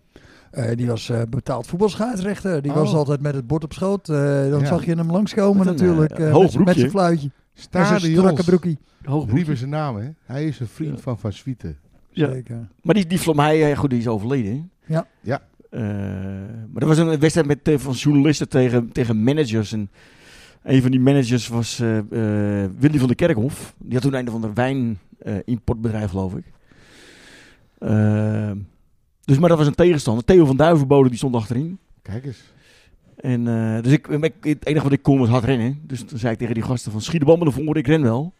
Eh, die was eh, betaald voetbalscheidsrechter. Die Oh. was altijd met het bord op schoot. Eh, dan Ja. zag je hem langskomen Met een, natuurlijk. eh, eh, hoog met z'n- met broekje. zijn fluitje. En zijn strakke Stadions. broekie. Hoog Riep is zijn naam, hè? Hij is een vriend Ja. van Van Swieten. Ja. Zeker. Maar die, die Vlam, hij, eh, goed, die is overleden. hè? Ja. Ja. Eh, maar dat was een wedstrijd met, eh, van journalisten tegen, tegen managers. En een van die managers was eh eh, Willy van der Kerkhof. Die had toen een van de wijnimportbedrijf, eh, geloof ik. Eh, dus, maar dat was een tegenstander. Theo van Duivenbode die stond achterin. Kijk eens. En, eh, dus ik, ik- het enige wat ik kon was hard rennen. Dus toen zei ik tegen die gasten van schiet de bal maar naar voren, ik ren wel.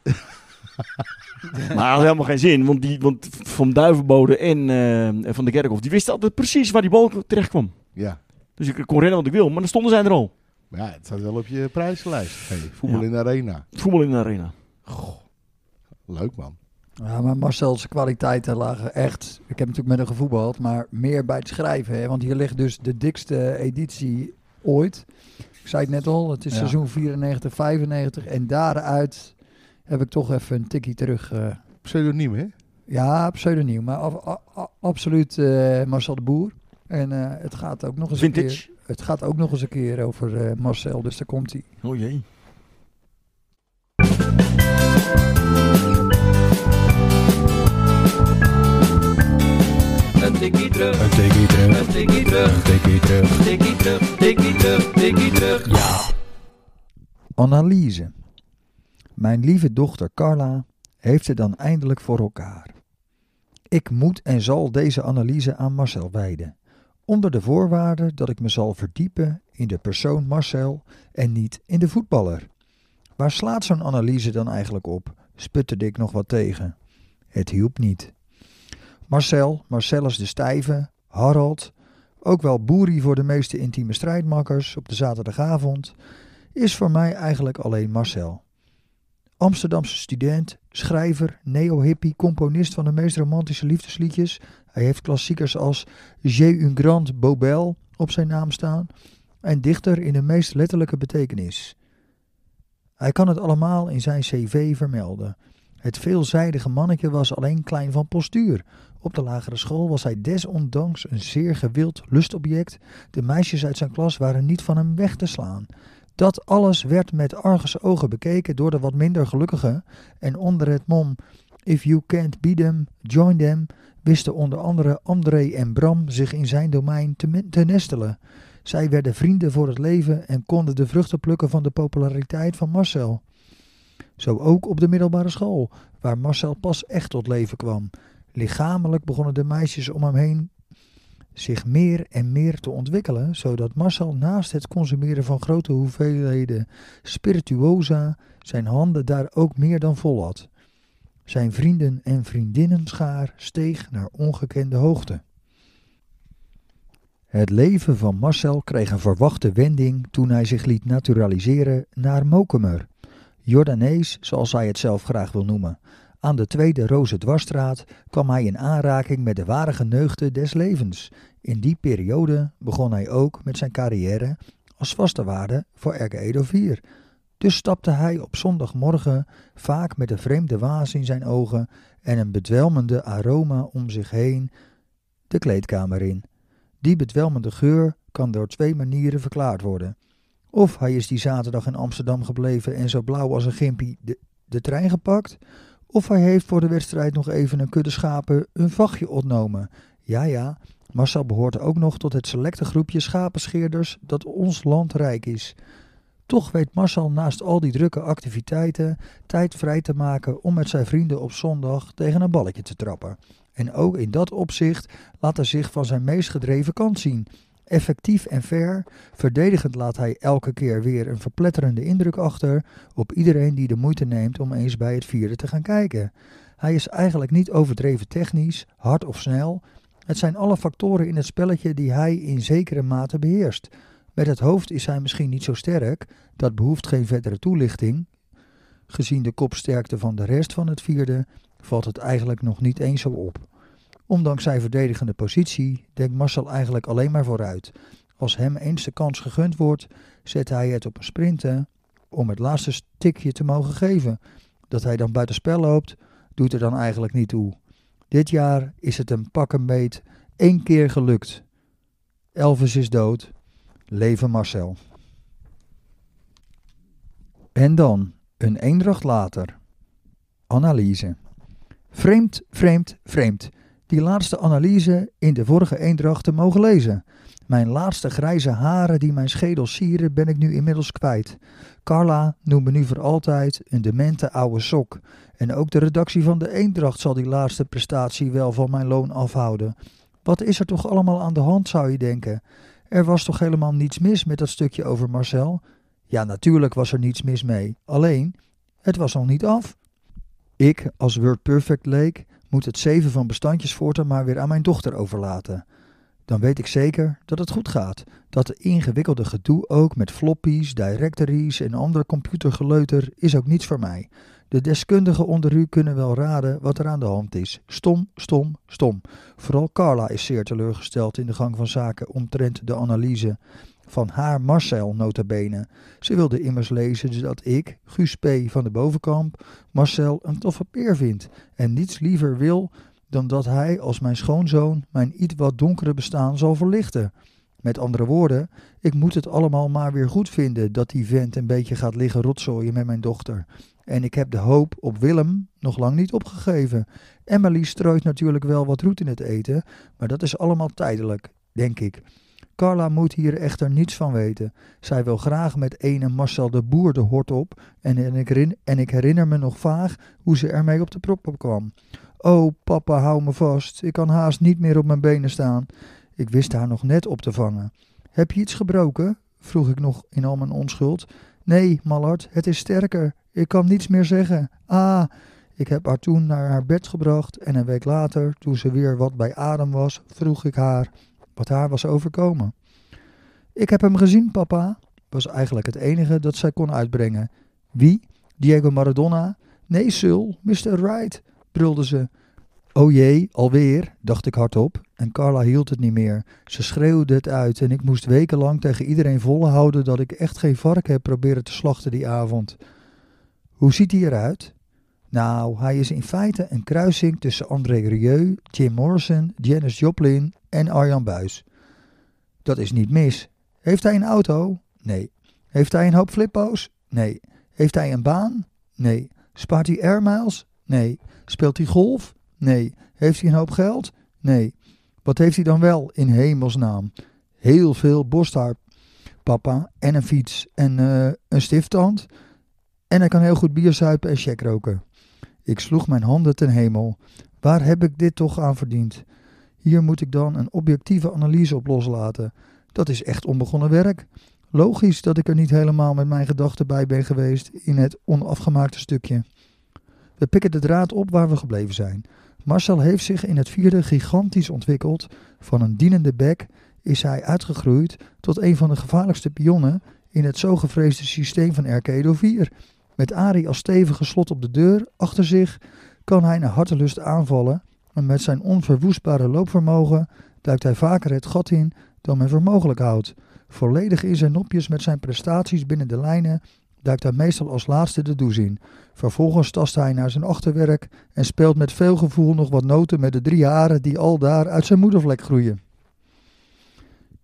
maar dat had helemaal geen zin, want, die, want Van Duivenbode en eh, Van de Kerkhof, die wisten altijd precies waar die bal terecht kwam. Ja. Dus ik kon rennen wat ik wil, maar dan stonden zij er al. Maar ja, het staat wel op je prijslijst. Hey, voetbal Ja. in de arena. Voetbal in de arena. Leuk, man. Ja, maar Marcel's kwaliteiten lagen echt. Ik heb natuurlijk met hem gevoetbald, maar meer bij het schrijven. Hè? Want hier ligt dus de dikste editie ooit. Ik zei het net al, het is Ja. seizoen 94, 95. En daaruit heb ik toch even een tikkie terug. eh, Pseudoniem, hè? ja, pseudoniem, maar af- a- a- absoluut eh, Marcel de Boer. En eh, het gaat ook nog eens een keer. Vintage. Het gaat ook nog eens een keer over eh, Marcel, dus daar komt hij. Oh jee. Een tikkie terug, Een tikkie terug, een tikkie terug, een tikkie terug. tikkie terug, tikkie terug, tikkie terug. Analyse. Mijn lieve dochter Carla heeft het dan eindelijk voor elkaar. Ik moet en zal deze analyse aan Marcel wijden. Onder de voorwaarde dat ik me zal verdiepen in de persoon Marcel en niet in de voetballer. Waar slaat zo'n analyse dan eigenlijk op? Sputterde ik nog wat tegen. Het hielp niet. Marcel, Marcellus de Stijve, Harald, ook wel Boeri voor de meeste intieme strijdmakkers op de zaterdagavond, is voor mij eigenlijk alleen Marcel. Amsterdamse student, schrijver, neo-hippie, componist van de meest romantische liefdesliedjes. Hij heeft klassiekers als J'ai une grande bobel op zijn naam staan en dichter in de meest letterlijke betekenis. Hij kan het allemaal in zijn cv vermelden. Het veelzijdige mannetje was alleen klein van postuur. Op de lagere school was hij desondanks een zeer gewild lustobject. De meisjes uit zijn klas waren niet van hem weg te slaan. Dat alles werd met argusogen bekeken door de wat minder gelukkigen. En onder het mom If you can't beat them, join them wisten onder andere André en Bram zich in zijn domein te, men- te nestelen. Zij werden vrienden voor het leven en konden de vruchten plukken van de populariteit van Marcel. Zo ook op de middelbare school, waar Marcel pas echt tot leven kwam. Lichamelijk begonnen de meisjes om hem heen zich meer en meer te ontwikkelen, zodat Marcel naast het consumeren van grote hoeveelheden spirituosa zijn handen daar ook meer dan vol had. Zijn vrienden en vriendinnenschaar steeg naar ongekende hoogte. Het leven van Marcel kreeg een verwachte wending toen hij zich liet naturaliseren naar Mokemer. Jordanees, zoals hij het zelf graag wil noemen. Aan de tweede Roze Dwarsstraat kwam hij in aanraking met de ware geneugten des levens. In die periode begon hij ook met zijn carrière als vaste waarde voor RK Edo 4. Dus stapte hij op zondagmorgen vaak met een vreemde waas in zijn ogen en een bedwelmende aroma om zich heen de kleedkamer in. Die bedwelmende geur kan door twee manieren verklaard worden. Of hij is die zaterdag in Amsterdam gebleven en zo blauw als een gimpie de, de trein gepakt. Of hij heeft voor de wedstrijd nog even een kudde schapen een vachtje ontnomen. Ja, ja, Marcel behoort ook nog tot het selecte groepje schapenscheerders dat ons land rijk is. Toch weet Marcel naast al die drukke activiteiten tijd vrij te maken om met zijn vrienden op zondag tegen een balletje te trappen. En ook in dat opzicht laat hij zich van zijn meest gedreven kant zien. Effectief en fair, verdedigend laat hij elke keer weer een verpletterende indruk achter op iedereen die de moeite neemt om eens bij het vieren te gaan kijken. Hij is eigenlijk niet overdreven technisch, hard of snel. Het zijn alle factoren in het spelletje die hij in zekere mate beheerst. Met het hoofd is hij misschien niet zo sterk, dat behoeft geen verdere toelichting. Gezien de kopsterkte van de rest van het vierde, valt het eigenlijk nog niet eens zo op. Ondanks zijn verdedigende positie denkt Marcel eigenlijk alleen maar vooruit. Als hem eens de kans gegund wordt, zet hij het op een sprinten om het laatste stikje te mogen geven. Dat hij dan buitenspel loopt, doet er dan eigenlijk niet toe. Dit jaar is het een pak een beet één keer gelukt. Elvis is dood. Leven Marcel. En dan, een eendracht later. Analyse. Vreemd, vreemd, vreemd. Die laatste analyse in de vorige eendracht te mogen lezen. Mijn laatste grijze haren die mijn schedel sieren ben ik nu inmiddels kwijt. Carla noemt me nu voor altijd een demente oude sok. En ook de redactie van de Eendracht zal die laatste prestatie wel van mijn loon afhouden. Wat is er toch allemaal aan de hand, zou je denken? Er was toch helemaal niets mis met dat stukje over Marcel? Ja, natuurlijk was er niets mis mee. Alleen, het was nog niet af. Ik, als Word Perfect leek, moet het zeven van bestandjes voortaan maar weer aan mijn dochter overlaten. Dan weet ik zeker dat het goed gaat. Dat de ingewikkelde gedoe ook met floppies, directories en ander computergeleuter is ook niets voor mij. De deskundigen onder u kunnen wel raden wat er aan de hand is. Stom, stom, stom. Vooral Carla is zeer teleurgesteld in de gang van zaken omtrent de analyse van haar Marcel notabene. Ze wilde immers lezen dat ik, Guus P. van de Bovenkamp, Marcel een toffe peer vind en niets liever wil dan dat hij als mijn schoonzoon mijn iets wat donkere bestaan zal verlichten. Met andere woorden, ik moet het allemaal maar weer goed vinden dat die vent een beetje gaat liggen rotzooien met mijn dochter. En ik heb de hoop op Willem nog lang niet opgegeven. Emily strooit natuurlijk wel wat roet in het eten, maar dat is allemaal tijdelijk, denk ik. Carla moet hier echter niets van weten. Zij wil graag met ene Marcel de Boer de hort op en, en, ik, rin- en ik herinner me nog vaag hoe ze ermee op de prop kwam. Oh, papa, hou me vast. Ik kan haast niet meer op mijn benen staan. Ik wist haar nog net op te vangen. Heb je iets gebroken? vroeg ik nog in al mijn onschuld. Nee, Mallard, het is sterker. Ik kan niets meer zeggen. Ah, ik heb haar toen naar haar bed gebracht en een week later, toen ze weer wat bij adem was, vroeg ik haar wat haar was overkomen. Ik heb hem gezien, papa, was eigenlijk het enige dat zij kon uitbrengen. Wie? Diego Maradona? Nee, Sul, Mr. Wright, brulde ze. O jee, alweer, dacht ik hardop. En Carla hield het niet meer. Ze schreeuwde het uit en ik moest wekenlang tegen iedereen volhouden dat ik echt geen vark heb proberen te slachten die avond. Hoe ziet hij eruit? Nou, hij is in feite een kruising tussen André Rieu, Jim Morrison, Janis Joplin en Arjan Buis. Dat is niet mis. Heeft hij een auto? Nee. Heeft hij een hoop flippo's? Nee. Heeft hij een baan? Nee. Spaart hij air miles? Nee. Speelt hij golf? Nee. Heeft hij een hoop geld? Nee. Wat heeft hij dan wel in hemelsnaam? Heel veel borsthaar, papa, en een fiets en eh, een stifttand. En hij kan heel goed bier zuipen en check roken. Ik sloeg mijn handen ten hemel. Waar heb ik dit toch aan verdiend? Hier moet ik dan een objectieve analyse op loslaten. Dat is echt onbegonnen werk. Logisch dat ik er niet helemaal met mijn gedachten bij ben geweest in het onafgemaakte stukje. We pikken de draad op waar we gebleven zijn. Marcel heeft zich in het vierde gigantisch ontwikkeld. Van een dienende bek is hij uitgegroeid tot een van de gevaarlijkste pionnen in het zo gevreesde systeem van Arcado 4. Met Arie als stevige slot op de deur achter zich kan hij naar hartelust aanvallen. En met zijn onverwoestbare loopvermogen duikt hij vaker het gat in dan men voor mogelijk houdt. Volledig in zijn nopjes met zijn prestaties binnen de lijnen duikt hij meestal als laatste de douche in. Vervolgens tast hij naar zijn achterwerk en speelt met veel gevoel nog wat noten met de drie haren die al daar uit zijn moedervlek groeien.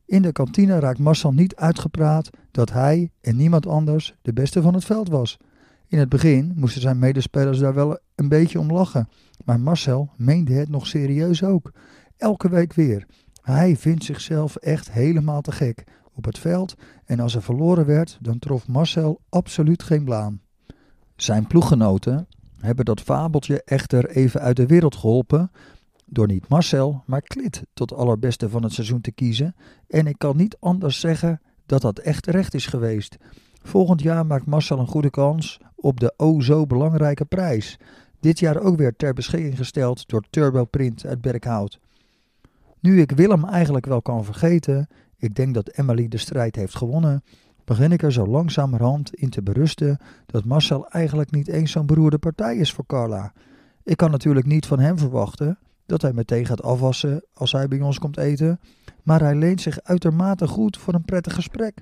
In de kantine raakt Marcel niet uitgepraat dat hij en niemand anders de beste van het veld was. In het begin moesten zijn medespelers daar wel een beetje om lachen, maar Marcel meende het nog serieus ook. Elke week weer. Hij vindt zichzelf echt helemaal te gek op het veld en als er verloren werd, dan trof Marcel absoluut geen blaam. Zijn ploeggenoten hebben dat fabeltje echter even uit de wereld geholpen door niet Marcel, maar Klit tot allerbeste van het seizoen te kiezen. En ik kan niet anders zeggen dat dat echt recht is geweest. Volgend jaar maakt Marcel een goede kans op de o zo belangrijke prijs. Dit jaar ook weer ter beschikking gesteld door Turbo Print uit Berkhout. Nu ik Willem eigenlijk wel kan vergeten, ik denk dat Emily de strijd heeft gewonnen, begin ik er zo langzamerhand in te berusten dat Marcel eigenlijk niet eens zo'n beroerde partij is voor Carla. Ik kan natuurlijk niet van hem verwachten dat hij meteen gaat afwassen als hij bij ons komt eten, maar hij leent zich uitermate goed voor een prettig gesprek.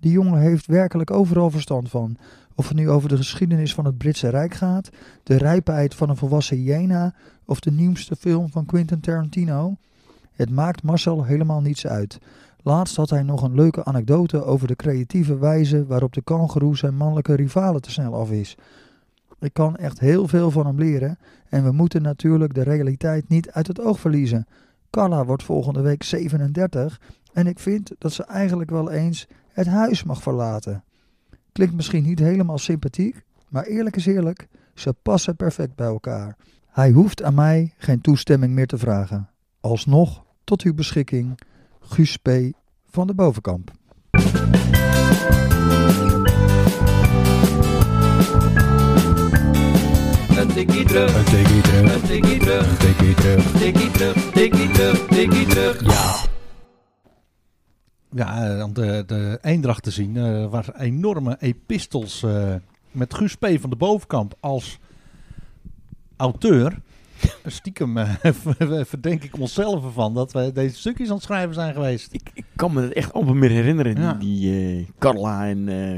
Die jongen heeft werkelijk overal verstand van. Of het nu over de geschiedenis van het Britse Rijk gaat, de rijpheid van een volwassen hyena of de nieuwste film van Quentin Tarantino. Het maakt Marcel helemaal niets uit. Laatst had hij nog een leuke anekdote over de creatieve wijze waarop de kangeroe zijn mannelijke rivalen te snel af is. Ik kan echt heel veel van hem leren en we moeten natuurlijk de realiteit niet uit het oog verliezen. Carla wordt volgende week 37 en ik vind dat ze eigenlijk wel eens het huis mag verlaten. Klinkt misschien niet helemaal sympathiek, maar eerlijk is eerlijk, ze passen perfect bij elkaar. Hij hoeft aan mij geen toestemming meer te vragen. Alsnog tot uw beschikking, Guus P. van de Bovenkamp. Een tikkie terug, Een tikkie terug, een tikkie terug, een tikkie terug. tikkie terug, tikkie terug, tikkie terug. Ja, eh, om de, de Eendracht te zien, eh waren enorme epistels eh, met Guus P. van de Bovenkamp als auteur. Stiekem eh, ver- verdenk ik onszelf ervan dat we deze stukjes aan het schrijven zijn geweest. Ik, ik kan me dat echt amper meer herinneren, die- Ja. die, eh, Carla en... eh,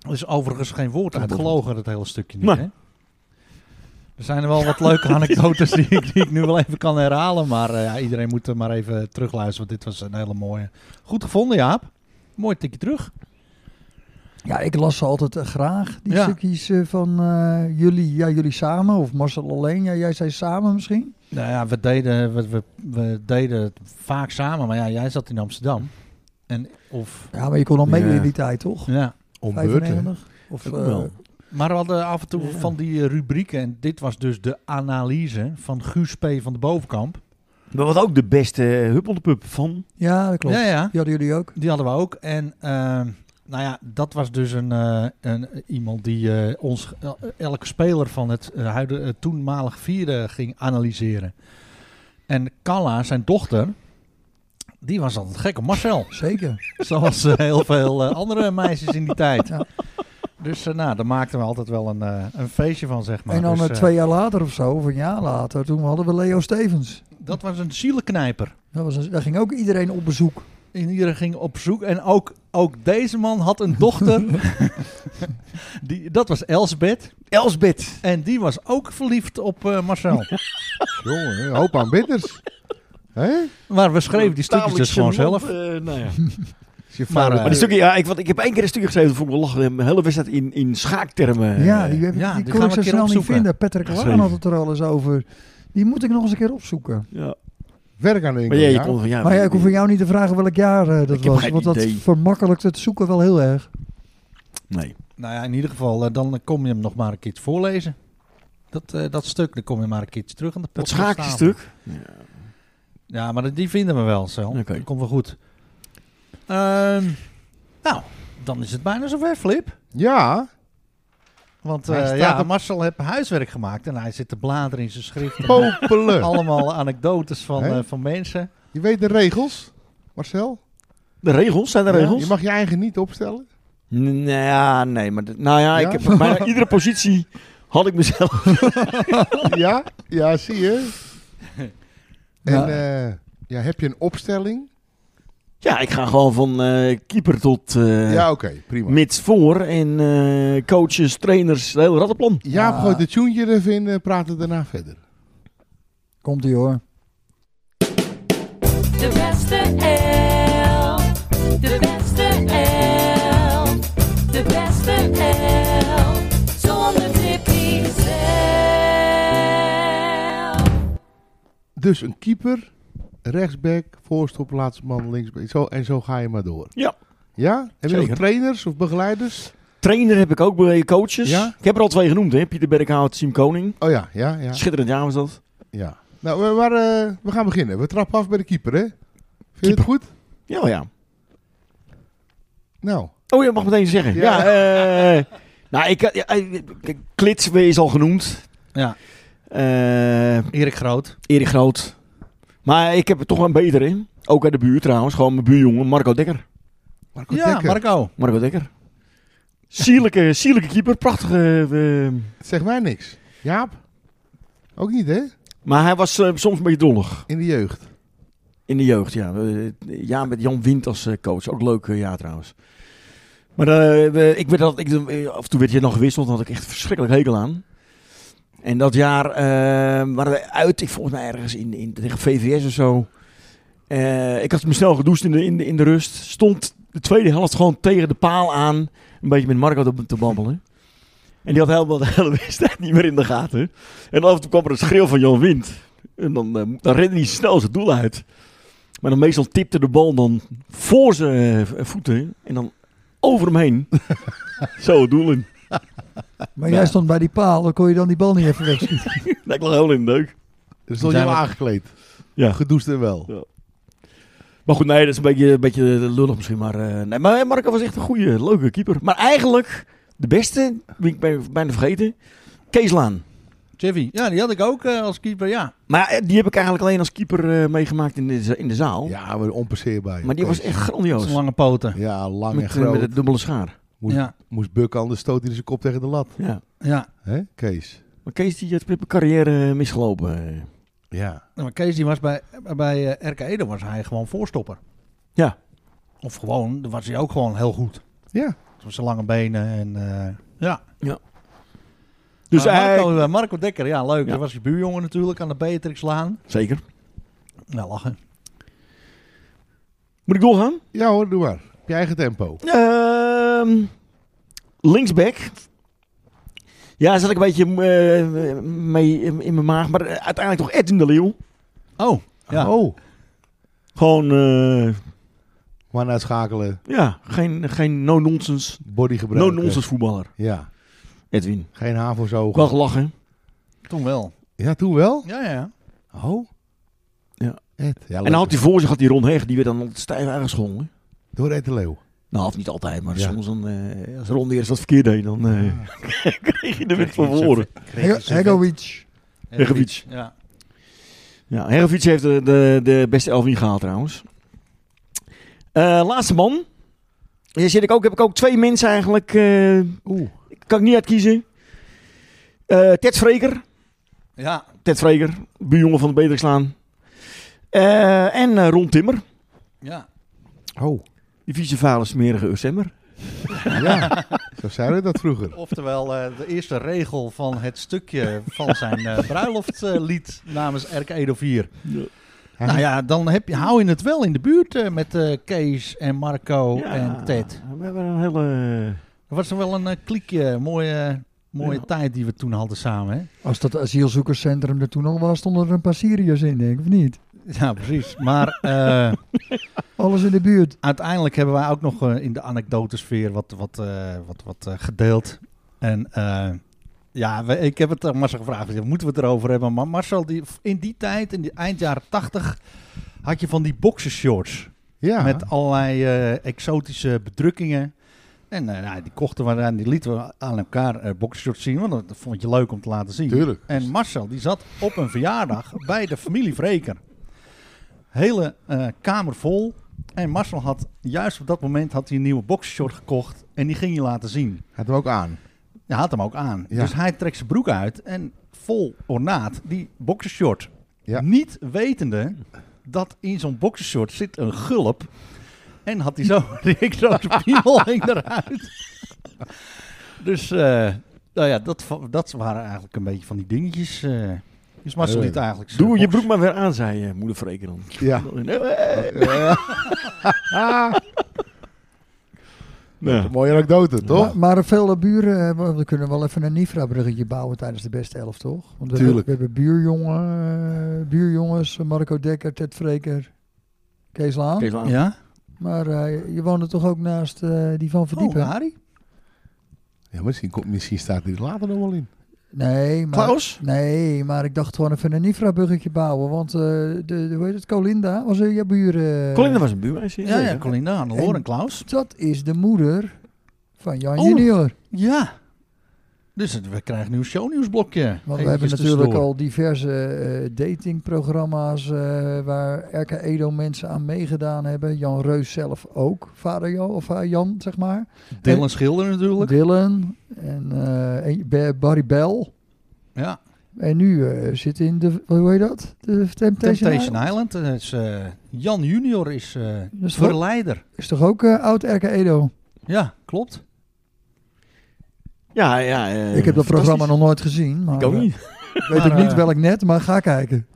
Er is overigens geen woord Van de uitgelogen, dat hele stukje niet. Nee. Hè? Er zijn er wel wat leuke anekdotes die, ik, die ik nu wel even kan herhalen. Maar eh, ja, iedereen moet er maar even terugluisteren, want dit was een hele mooie. Goed gevonden, Jaap. Mooi tikje terug. Ja, ik las ze altijd eh, graag, die Ja. stukjes eh, van eh, jullie, ja, jullie samen of Marcel alleen. Ja, jij zei samen misschien. Nou ja, we deden, we, we, we deden het vaak samen, maar ja, jij zat in Amsterdam. En of, Ja, maar je kon al meedoen Ja. in die tijd, toch? ja. Om beurt, hè? 95? Of, ook eh, wel. Maar we hadden af en toe van die eh, rubrieken. En dit was dus de analyse van Guus P. van de Bovenkamp. Maar wat ook de beste eh, huppeldepup van... ja, dat klopt. Ja, ja. Die hadden jullie ook. Die hadden we ook. En ehm, nou ja, dat was dus een, eh, een, iemand die eh, ons, el- elke speler van het eh, huidige, eh, toenmalig vierde ging analyseren. En Kalla, zijn dochter, die was altijd gek op Marcel. Zeker. Zoals eh, heel veel eh, andere meisjes in die tijd. Ja. Dus eh, nou, daar maakten we altijd wel een, eh, een feestje van, zeg maar. en dan Dus, eh, eh, twee jaar later of zo, of een jaar later, toen hadden we Leo Stevens. Dat was een zielenknijper. Dat was een- daar ging ook iedereen op bezoek. En iedereen ging op zoek. En ook, ook deze man had een dochter. die, dat was Elsbeth. Elsbeth. En die was ook verliefd op eh, Marcel. Jongen, een hoop aan bidders. Hé? maar we schreven die stukjes dus Tamelijk gewoon gênant, zelf. eh, nou ja. Is je Maar, vader- eh, Nou, Maar die stukje, ja, ik, want ik heb één keer een stukje geschreven, vond ik wel lachen. Een hele wedstrijd in, in schaaktermen. eh, ja, die, heb ik- ja, die die kon gaan ik we zo een keer snel niet opzoeken. vinden. Patrick Laan Geschreven. had het er al eens over. Die moet ik nog eens een keer opzoeken. ja. eh, Werk aan de Ah, Maar winkel, jij, je ja. kon van, ja, Maar ja, ik hoef van jou niet te vragen welk jaar eh, dat Ik heb was. geen Want dat idee. vermakkelijkt het zoeken wel heel erg. Nee. Nou ja, in ieder geval, eh, dan kom je hem nog maar een keertje voorlezen. Dat, eh, dat stuk, dan kom je maar een keertje terug aan de Dat podcasttafel. schaakje stuk. Ja, maar die vinden we wel zo. Oké. Dat komt wel goed. Ehm, nou, dan is het bijna zover, Flip. Ja, Want Hij eh, staat ja, op- Marcel heeft huiswerk gemaakt en hij zit te bladeren in zijn schrift. En, eh, popelen. allemaal anekdotes van, Hè? eh, van mensen. Je weet de regels, Marcel. De regels, zijn de Ja, regels? Je mag je eigen niet opstellen. N- nou ja, nee, maar dat- nou ja, Ja? ik heb bijna iedere positie had ik mezelf. ja, ja, zie je. En Nou. eh, ja, heb je een opstelling? Ja, ik ga gewoon van eh, keeper tot eh ja, oké, prima. mits voor en eh, coaches, trainers, het hele rattenplan. Jaap Ah. gooit de tune er even in en praten daarna verder. Komt ie hoor. De beste elf. De beste elf. De beste elf. Zonder Tippy zelf. Dus een keeper, rechtsback, voorstopplaatsman, linksback. Zo, en zo ga je maar door. Ja. Ja? Heb je nog Zeker. trainers of begeleiders? Trainer heb ik ook, eh, coaches. Ja? Ik heb er al twee genoemd, hè? Pieter Berghout, Siem Koning. Oh ja, ja, ja. Schitterend jaar was dat. ja. Nou, we, waar, eh, we gaan beginnen. We trappen af bij de keeper, hè? Vind je het goed? Ja, ja. Nou, Oh, je mag meteen zeggen. Ja. Ja, eh nou, ik, ja, eh, kijk, Klits is al genoemd. Ja. Eh, Erik Groot. Erik Groot. Maar ik heb er toch wel een betere in. Ook uit de buurt trouwens. Gewoon mijn buurjongen, Marco Dekker. Marco ja, Dekker. Marco. Marco Dekker. Sierlijke, sierlijke keeper. Prachtige... eh, Het zegt mij niks. Jaap? Ook niet, hè? maar hij was eh, soms een beetje dollig. In de jeugd. In de jeugd, ja. Eh, Ja, met Jan Wind als eh, coach. Ook leuk, eh, ja trouwens. Maar eh, we- ik werd dat, ik, eh, af en toe werd je nog gewisseld. Daar had ik echt verschrikkelijk hekel aan. En dat jaar eh, waren we uit, ik volgens mij ergens in, in, tegen VVS of zo. Eh, ik had me snel gedoucht in de, in, de, in de rust. Stond de tweede helft gewoon tegen de paal aan. Een beetje met Marco te, te babbelen. En die had helemaal de hele wedstrijd niet meer in de gaten. En af en toe kwam er een schreeuw van Jan Wind. En dan, eh, dan rende hij snel zijn doel uit. Maar dan meestal tipte de bal dan voor zijn eh, voeten en dan over hem heen. Zo het doel in. Maar Ja. jij stond bij die paal, dan kon je dan die bal niet even wegschieten. Lijkt wel heel in de deuk. Er stond je Zijn wel we- aangekleed. Ja. Gedoest en wel. Maar goed, nee, dat is een beetje, een beetje lullig misschien. Maar, eh, nee, maar Marco was echt een goede, leuke keeper. Maar eigenlijk, de beste, die ik bij- bijna vergeten, Kees Laan. Chivy. Ja, die had ik ook eh, als keeper, ja. Maar eh, die heb ik eigenlijk alleen als keeper eh, meegemaakt in de, za- in de zaal. Ja, maar onpasseerbaar. maar die was echt grandioos. Zijn lange poten. Ja, lang en Met, eh, groot. met de dubbele schaar. Moest, Ja, moest bukken, anders stoot hij zijn kop tegen de lat. Ja. ja. Hè, Kees? Maar Kees die heeft mijn carrière eh, misgelopen. eh. Ja. Nou, Maar Kees die was bij, bij eh, RK Ede was hij gewoon voorstopper. Ja. Of gewoon, dan was hij ook gewoon heel goed. Ja. Met zijn lange benen en... eh, ja. Dus Maar hij... Marco, eh, Marco Dekker, ja leuk. Ja. Dat was je buurjongen natuurlijk aan de Beatrixlaan. Zeker. Nou, lachen. Moet ik doorgaan? Ja hoor, doe maar. Op je eigen tempo. Ehm linksback. Ja, daar zat ik een beetje eh, mee in in mijn maag. Maar eh, uiteindelijk toch Edwin de Leeuw. Oh, ja. Oh. Gewoon, eh, Maar uitschakelen, ja, geen, geen no-nonsense body gebruiken. no-nonsense voetballer. Ja. Edwin. Geen havels Ook wel gelachen. toen wel. Ja, toen wel? Ja, ja, ja. Oh. Ja. Ed. Ja, En dan had hij voor zich had die Ron Heg, die werd dan altijd stijf aangeschonken. Door Ed de Leeuw. Nou, of niet altijd, maar Ja. soms dan, eh, als Ron weer eens wat verkeerd deed, dan eh, kreeg je de wind van voren. Hegovic. Hegovic. Ja. Ja, Hervic heeft de, de, de beste elf niet gehaald trouwens. Eh, laatste man. Hier zit ik ook, heb ik ook twee mensen eigenlijk. eh, Oeh. kan ik niet uitkiezen. Eh, Ted Vreker. Ja, Ted Vreker, buurjongen van de Beterslaan. Eh en eh, Ron Timmer. ja. Oh. Die vieze vuile smerige Ursemmer. Ja. Zo zeiden we dat vroeger. Oftewel eh, de eerste regel van het stukje van zijn eh, bruiloftlied namens RK Edo 4. Nou ja, dan heb je, hou je het wel in de buurt eh, met eh, Kees en Marco Ja, Oh, en Ted. We hebben een hele... Dat was wel een eh, kliekje. Mooie, mooie Ja. tijd die we toen hadden samen. Hè? Als dat asielzoekerscentrum er toen al was, stonden er een paar Syriërs in, denk ik, of niet? Ja, precies. Maar eh, Alles in de buurt. uiteindelijk hebben wij ook nog eh, in de anekdotesfeer wat, wat, eh, wat, wat eh, gedeeld. En eh, ja, we- ik heb het aan Marcel gevraagd. ik zeg, Moeten we het erover hebben? Maar Marcel, die, in die tijd, in die eind jaren tachtig, had je van die boxershorts. Ja. Met allerlei eh, exotische bedrukkingen. En eh, nou, die kochten we en die lieten we aan elkaar eh boxershorts zien. Want dat vond je leuk om te laten zien. Tuurlijk. En Marcel die zat op een verjaardag bij de familie Vreker. Hele eh, kamer vol En Marcel had juist op dat moment had hij een nieuwe boxshort gekocht en die ging hij laten zien. Had hem ook aan. Hij had hem ook aan. Ja. Dus hij trekt zijn broek uit en vol ornaat die boxershort. Ja. Niet wetende dat in zo'n boxershort zit een gulp. En had hij zo, ik zo zijn piemel hing eruit. dus eh, nou ja, dat, va- dat waren eigenlijk een beetje van die dingetjes. eh. dus Marcel Eh, liet eigenlijk zijn Doe je box- broek maar weer aan, zei je moeder Freke dan. Ja. Nou, Mooie anekdote, toch? Ah, Maar, maar veel buren, hebben- we kunnen wel even een Nifra-bruggetje bouwen tijdens de beste elf, toch? Want we, Tuurlijk. Hebben, we hebben buurjongen, eh, buurjongens, Marco Dekker, Ted Vreker, Kees Laan. Kees Laan. Ja? Maar eh, je woonde toch ook naast eh, die van Verdiepen? Oh, Harry? Ja, misschien, komt- misschien staat die er later nog wel in. Nee, maar... Klaus? Nee, maar ik dacht gewoon even een Nifra-bruggetje bouwen. Want eh, de, de, hoe heet het, Colinda, was er je buur? eh, Colinda was een buurmeisje. Ja, ja, zeker. Colinda, Anneloor en Klaus. Dat is de moeder van Jan Oh. Junior. Ja. Dus het- we krijgen nu een shownieuwsblokje. Want we Eventjes hebben natuurlijk tussendoor. al diverse eh, datingprogramma's eh, waar RK Edo mensen aan meegedaan hebben. Jan Reus zelf ook, vader Jan, of eh, Jan zeg maar. Dylan Schilder natuurlijk. Dylan en, eh, en Ba- Barry Bell. Ja. En nu eh, zit in de, hoe heet dat? De Temptation, Temptation Island. Island. eh, is, eh, Jan Junior is eh Dat is, toch, verleider. is toch ook eh, oud RK Edo? Ja, klopt. Ja, ja. eh, ik heb dat programma fantastisch. nog nooit gezien, maar Ik ook eh, niet. weet Maar, ik niet eh, welk net, maar ga kijken.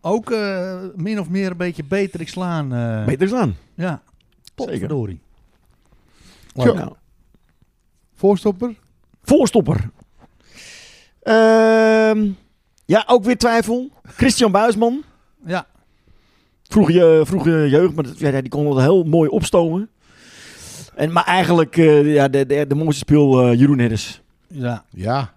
Ook eh, min of meer een beetje beter ik slaan. eh, Beter slaan. Ja. Potverdorie. Zo. Nou, Voorstopper? Voorstopper. Ehm, ja, ook weer twijfel. Christian Buisman. Ja. Vroeg je, vroeg je jeugd, maar dat- ja, die kon wel heel mooi opstomen. En, maar eigenlijk, eh, ja, de, de, de mooiste speel eh, Jeroen Herders. Ja. Ja.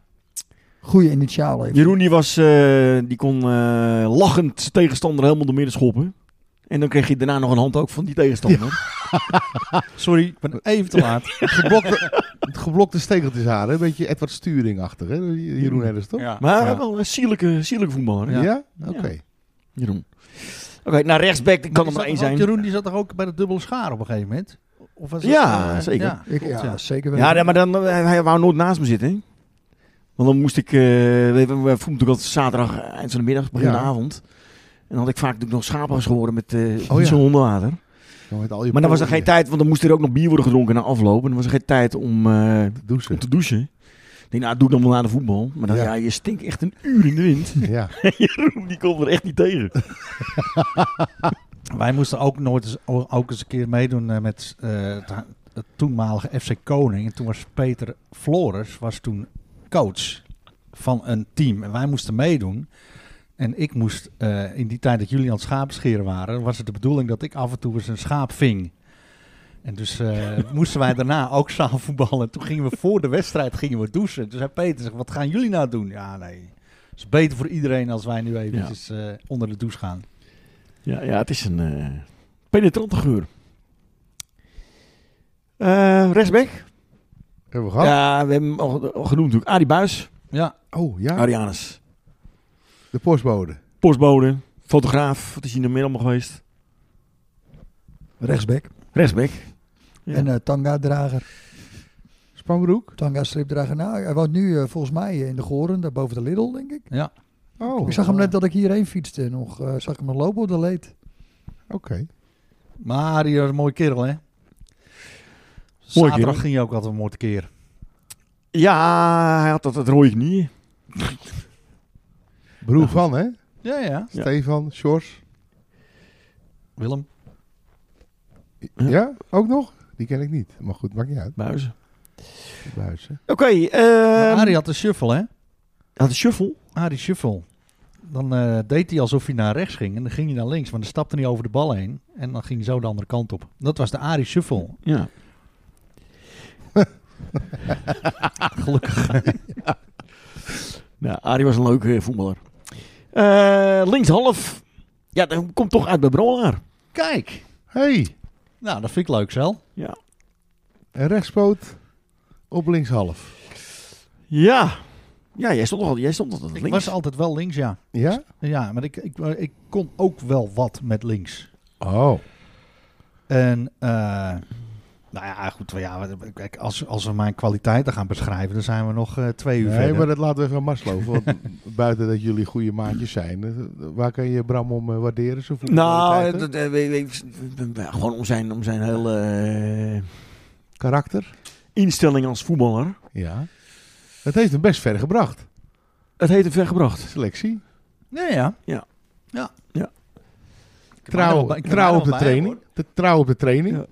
Goede initialen. even. Jeroen die was, eh, die kon eh, lachend zijn tegenstander helemaal door midden schoppen. En dan kreeg je daarna nog een hand ook van die tegenstander. Sorry, ik ben even te laat. Geblokte, het geblokte stekeltjes haar, hè? een beetje Edward Sturing-achtig, hè? Jeroen Herders, toch? Ja. Maar Ja. wel een zielijke, zielijke voetballer, hè, Ja? Ja. Oké. Jeroen. Oké, naar rechtsback ik kan er Is dat maar één toch ook zijn. Jeroen die zat toch ook bij de dubbele schaar op een gegeven moment? Of was het, Ja, eh, zeker. Ja, Ik, klopt, ja, ja. zeker weten. Ja, nee, maar dan, eh, hij wou nooit naast me zitten. hè. Want dan moest ik, eh we, we voelen natuurlijk altijd zaterdag eh, eind van de middag, begin Ja. de avond. En dan had ik vaak natuurlijk nog schapen gehoord met eh ja. oh, hondenwater. Dan met al je Maar dan was er poten geen tijd, want dan moest er ook nog bier worden gedronken na afloop. En dan was er geen tijd om, eh, te douchen. om te douchen. Ik denk, nou, dat doe ik dan wel na de voetbal. Maar dan, Ja. ja. je stinkt echt een uur in de wind. Ja. Jeroen, die komt er echt niet tegen. Wij moesten ook nooit eens, o- ook eens een keer meedoen eh, met eh, het, ha- het toenmalige FC Koning. En toen was Peter Flores was toen coach van een team. En wij moesten meedoen. En ik moest, eh, in die tijd dat jullie aan het schaapscheren waren, was het de bedoeling dat ik af en toe eens een schaap ving. En dus eh, moesten wij daarna ook zaalvoetballen. Toen gingen we voor de wedstrijd gingen we douchen. Toen zei Peter, zeg, wat gaan jullie nou doen? Ja, nee. Het is beter voor iedereen als wij nu eventjes eh, onder de douche gaan. Ja, ja het is een eh, penetrante geur. Eh rechtsback. Hebben we gehad? Ja, we hebben hem al, al genoemd natuurlijk. Arie Buis. Ja, Oh, ja. Arianus. De postbode. Postbode. Fotograaf. Wat is hij nog meer allemaal geweest? Rechtsback. Rechtsback. Ja. En eh, tanga-drager, Spanbroek? tanga-stripdrager. Nou, hij woont nu eh, volgens mij eh, in de Goren, daar boven de Lidl, denk ik. Oh, ik zag eh. hem net dat ik hierheen fietste nog. eh, zag ik hem nog lopen op de leed. oké. Maar die was een mooie kerel, hè? Zaterdag kerel. ging je ook altijd een mooie keer. ja, hij had dat, dat rode knieën. Broer van, hè? Ja, ja. Ja. Stefan, Sjors. Willem. Ja. Ja? Ook nog? Die ken ik niet. Maar goed, maakt niet uit. Buizen. Buis, hè? Oké. Maar ehm Arie had een shuffle, hè? had een shuffle. Arie shuffle. Dan eh, deed hij alsof hij naar rechts ging. En dan ging hij naar links, want dan stapte hij over de bal heen. En dan ging hij zo de andere kant op. Dat was de Arie shuffle. Ja. Gelukkig. Nou, Arie was een leuke eh, voetballer. Eh linkshalf. Ja, dat komt toch uit bij Brolaar. Kijk. Hey, Nou, dat vind ik leuk, Cel. een rechtspoot op linkshalf. Ja. Ja, jij stond, toch al, jij stond altijd Ik links. was altijd wel links, ja. Ja? Ja, maar ik, ik, ik kon ook wel wat met links. Oh. En eh, nou ja, goed. Ja, wat- kijk, als, als we mijn kwaliteiten gaan beschrijven, dan zijn we nog eh, twee uur Nee, verder. maar dat laten we even aan Mars lopen. Want buiten dat jullie goede maatjes zijn, eh, waar kan je Bram om eh, waarderen? Zo Nou, dat, eh, we- we- we- gewoon om zijn, om zijn hele eh, karakter. instelling als voetballer. Ja. Het heeft hem best ver gebracht. Het heeft hem vergebracht. Selectie. Ja, ja. Trouw, trouw op de training. De trouw op de training. Ja.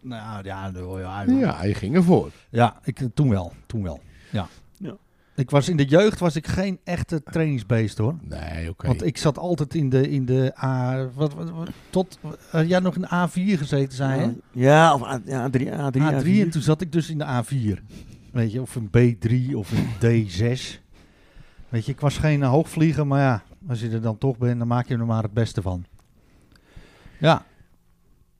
Nou ja, joh, ja, joh. Ja, hij ging ervoor. Ja, ik, eh, toen wel. Toen wel. Ja. Ja. Ik was in de jeugd was ik geen echte trainingsbeest hoor. Nee, oké. Want ik zat altijd in de, in de A. Wat, wat, wat- tot eh, jij nog in de A4 gezeten zijn. hè? Ja, of A- ja, A3, A3, A3 en A4. toen zat ik dus in de A4. Weet je, of een B3 of een D6. Weet je, ik was geen eh, hoogvlieger, maar ja, als je er dan toch bent, dan maak je er maar het beste van. Ja.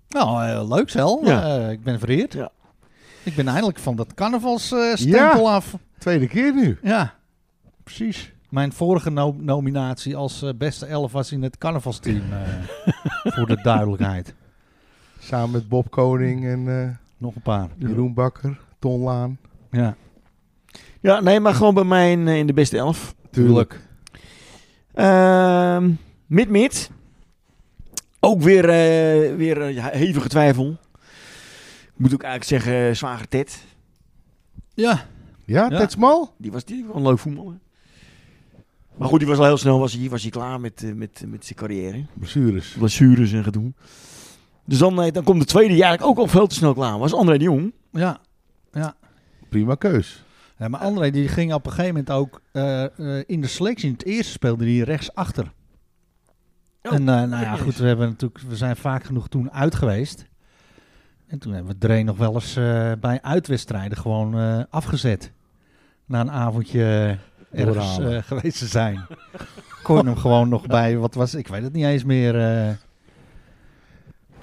Nou, eh, leuk zelf. Ja. Eh, ik ben vereerd. Ja. Ik ben eindelijk van dat carnavalsstempel af. Tweede keer nu. Ja, precies. Mijn vorige no- nominatie als eh, beste elf was in het carnavalsteam. eh, voor de duidelijkheid. Samen met Bob Koning en eh Nog een paar. Jeroen Bakker, Ton Laan. Ja, Ja, nee, maar gewoon bij mij in, eh, in de beste elf. tuurlijk. Ehm, Mid-mid. Ook weer, eh, weer eh, ja, hevige twijfel. Ik moet ook eigenlijk zeggen, eh, zwager Ted. Ja, Ja, Ja. Ted Smal? Die was die was wel een leuk voetballer. Maar goed, die was al heel snel was hij, was hij klaar met, eh, met, met zijn carrière. Blessures. Blessures en gedoe. Dus dan, eh, dan komt de tweede die eigenlijk ook al veel te snel klaar was. André de Jong. ja. Prima keus. Ja, maar André die ging op een gegeven moment ook eh, eh, in de selectie. In het eerste speelde hij rechtsachter. Oh, en eh, nou ja, eens. goed, we, hebben natuurlijk, we zijn vaak genoeg toen uit geweest. En toen hebben we Dreen nog wel eens eh, bij uitwedstrijden gewoon eh, afgezet. Na een avondje eh, ergens Doorhalen. eh, geweest te zijn. Kon je hem gewoon nog bij, wat was, ik weet het niet eens meer. eh,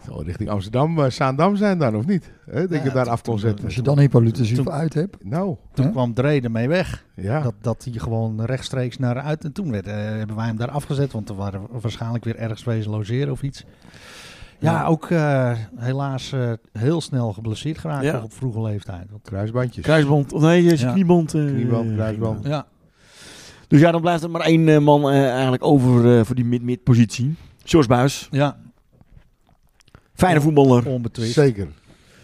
Zo, richting Amsterdam, eh, Zaandam zijn dan, of niet? Hè, dat Ja, je daar toen- af kon toen- Als zetten. je dan Hippolytus Toen- even uit hebt. Nou, toen Hè? kwam Dree ermee weg. ja. Dat, dat hij gewoon rechtstreeks naar uit. En toen werd, eh, hebben wij hem daar afgezet, want er waren we waarschijnlijk weer ergens wezen logeren of iets. Ja, Ja. ook eh, helaas eh, heel snel geblesseerd geraakt Ja. op vroege leeftijd. Want, Kruisbandjes. Kruisband. Of nee, eh, zijn Ja. knieband. eh, Knieband, kruisband. ging ja, aan. Dus ja, dan blijft er maar één eh, man eh, eigenlijk over eh, voor die mid-mid positie. George Buis. ja, Fijne voetballer. onbetwist. Zeker.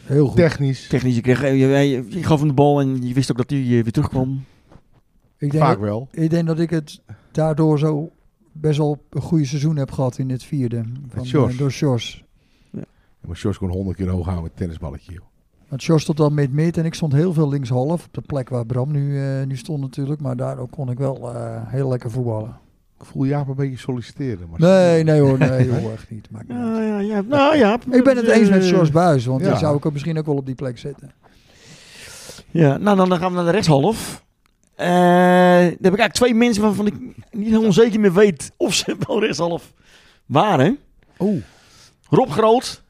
Heel goed. Technisch. Technisch, je, kreeg, eh, je, je- je gaf hem de bal en je wist ook dat hij eh, weer terugkwam. Ik denk, Vaak dat, wel. ik denk dat ik het daardoor zo best wel een goede seizoen heb gehad in het vierde. Van, Sjors. eh, door Sjors. Maar Sjors kon honderd keer hoog houden met het tennisballetje. joh. Want Sjors stond dan mid-mid en ik stond heel veel linkshalf. Op de plek waar Bram nu, eh, nu stond natuurlijk. Maar daardoor kon ik wel eh, heel lekker voetballen. Ik voel Jaap een beetje solliciteren. Maar Nee, nee hoor. Nee hoor, echt niet. Maakt niet uit. Ja, ja, ja. Nou ja. Ik ben het eh, eens met Sjors Buis, want ja. die zou ik ook misschien ook wel op die plek zetten. Ja, nou dan, dan gaan we naar de rechtshalf. Eh daar heb ik eigenlijk twee mensen waarvan ik niet helemaal zeker meer weet of ze wel rechtshalf waren. Oh. Rob Groot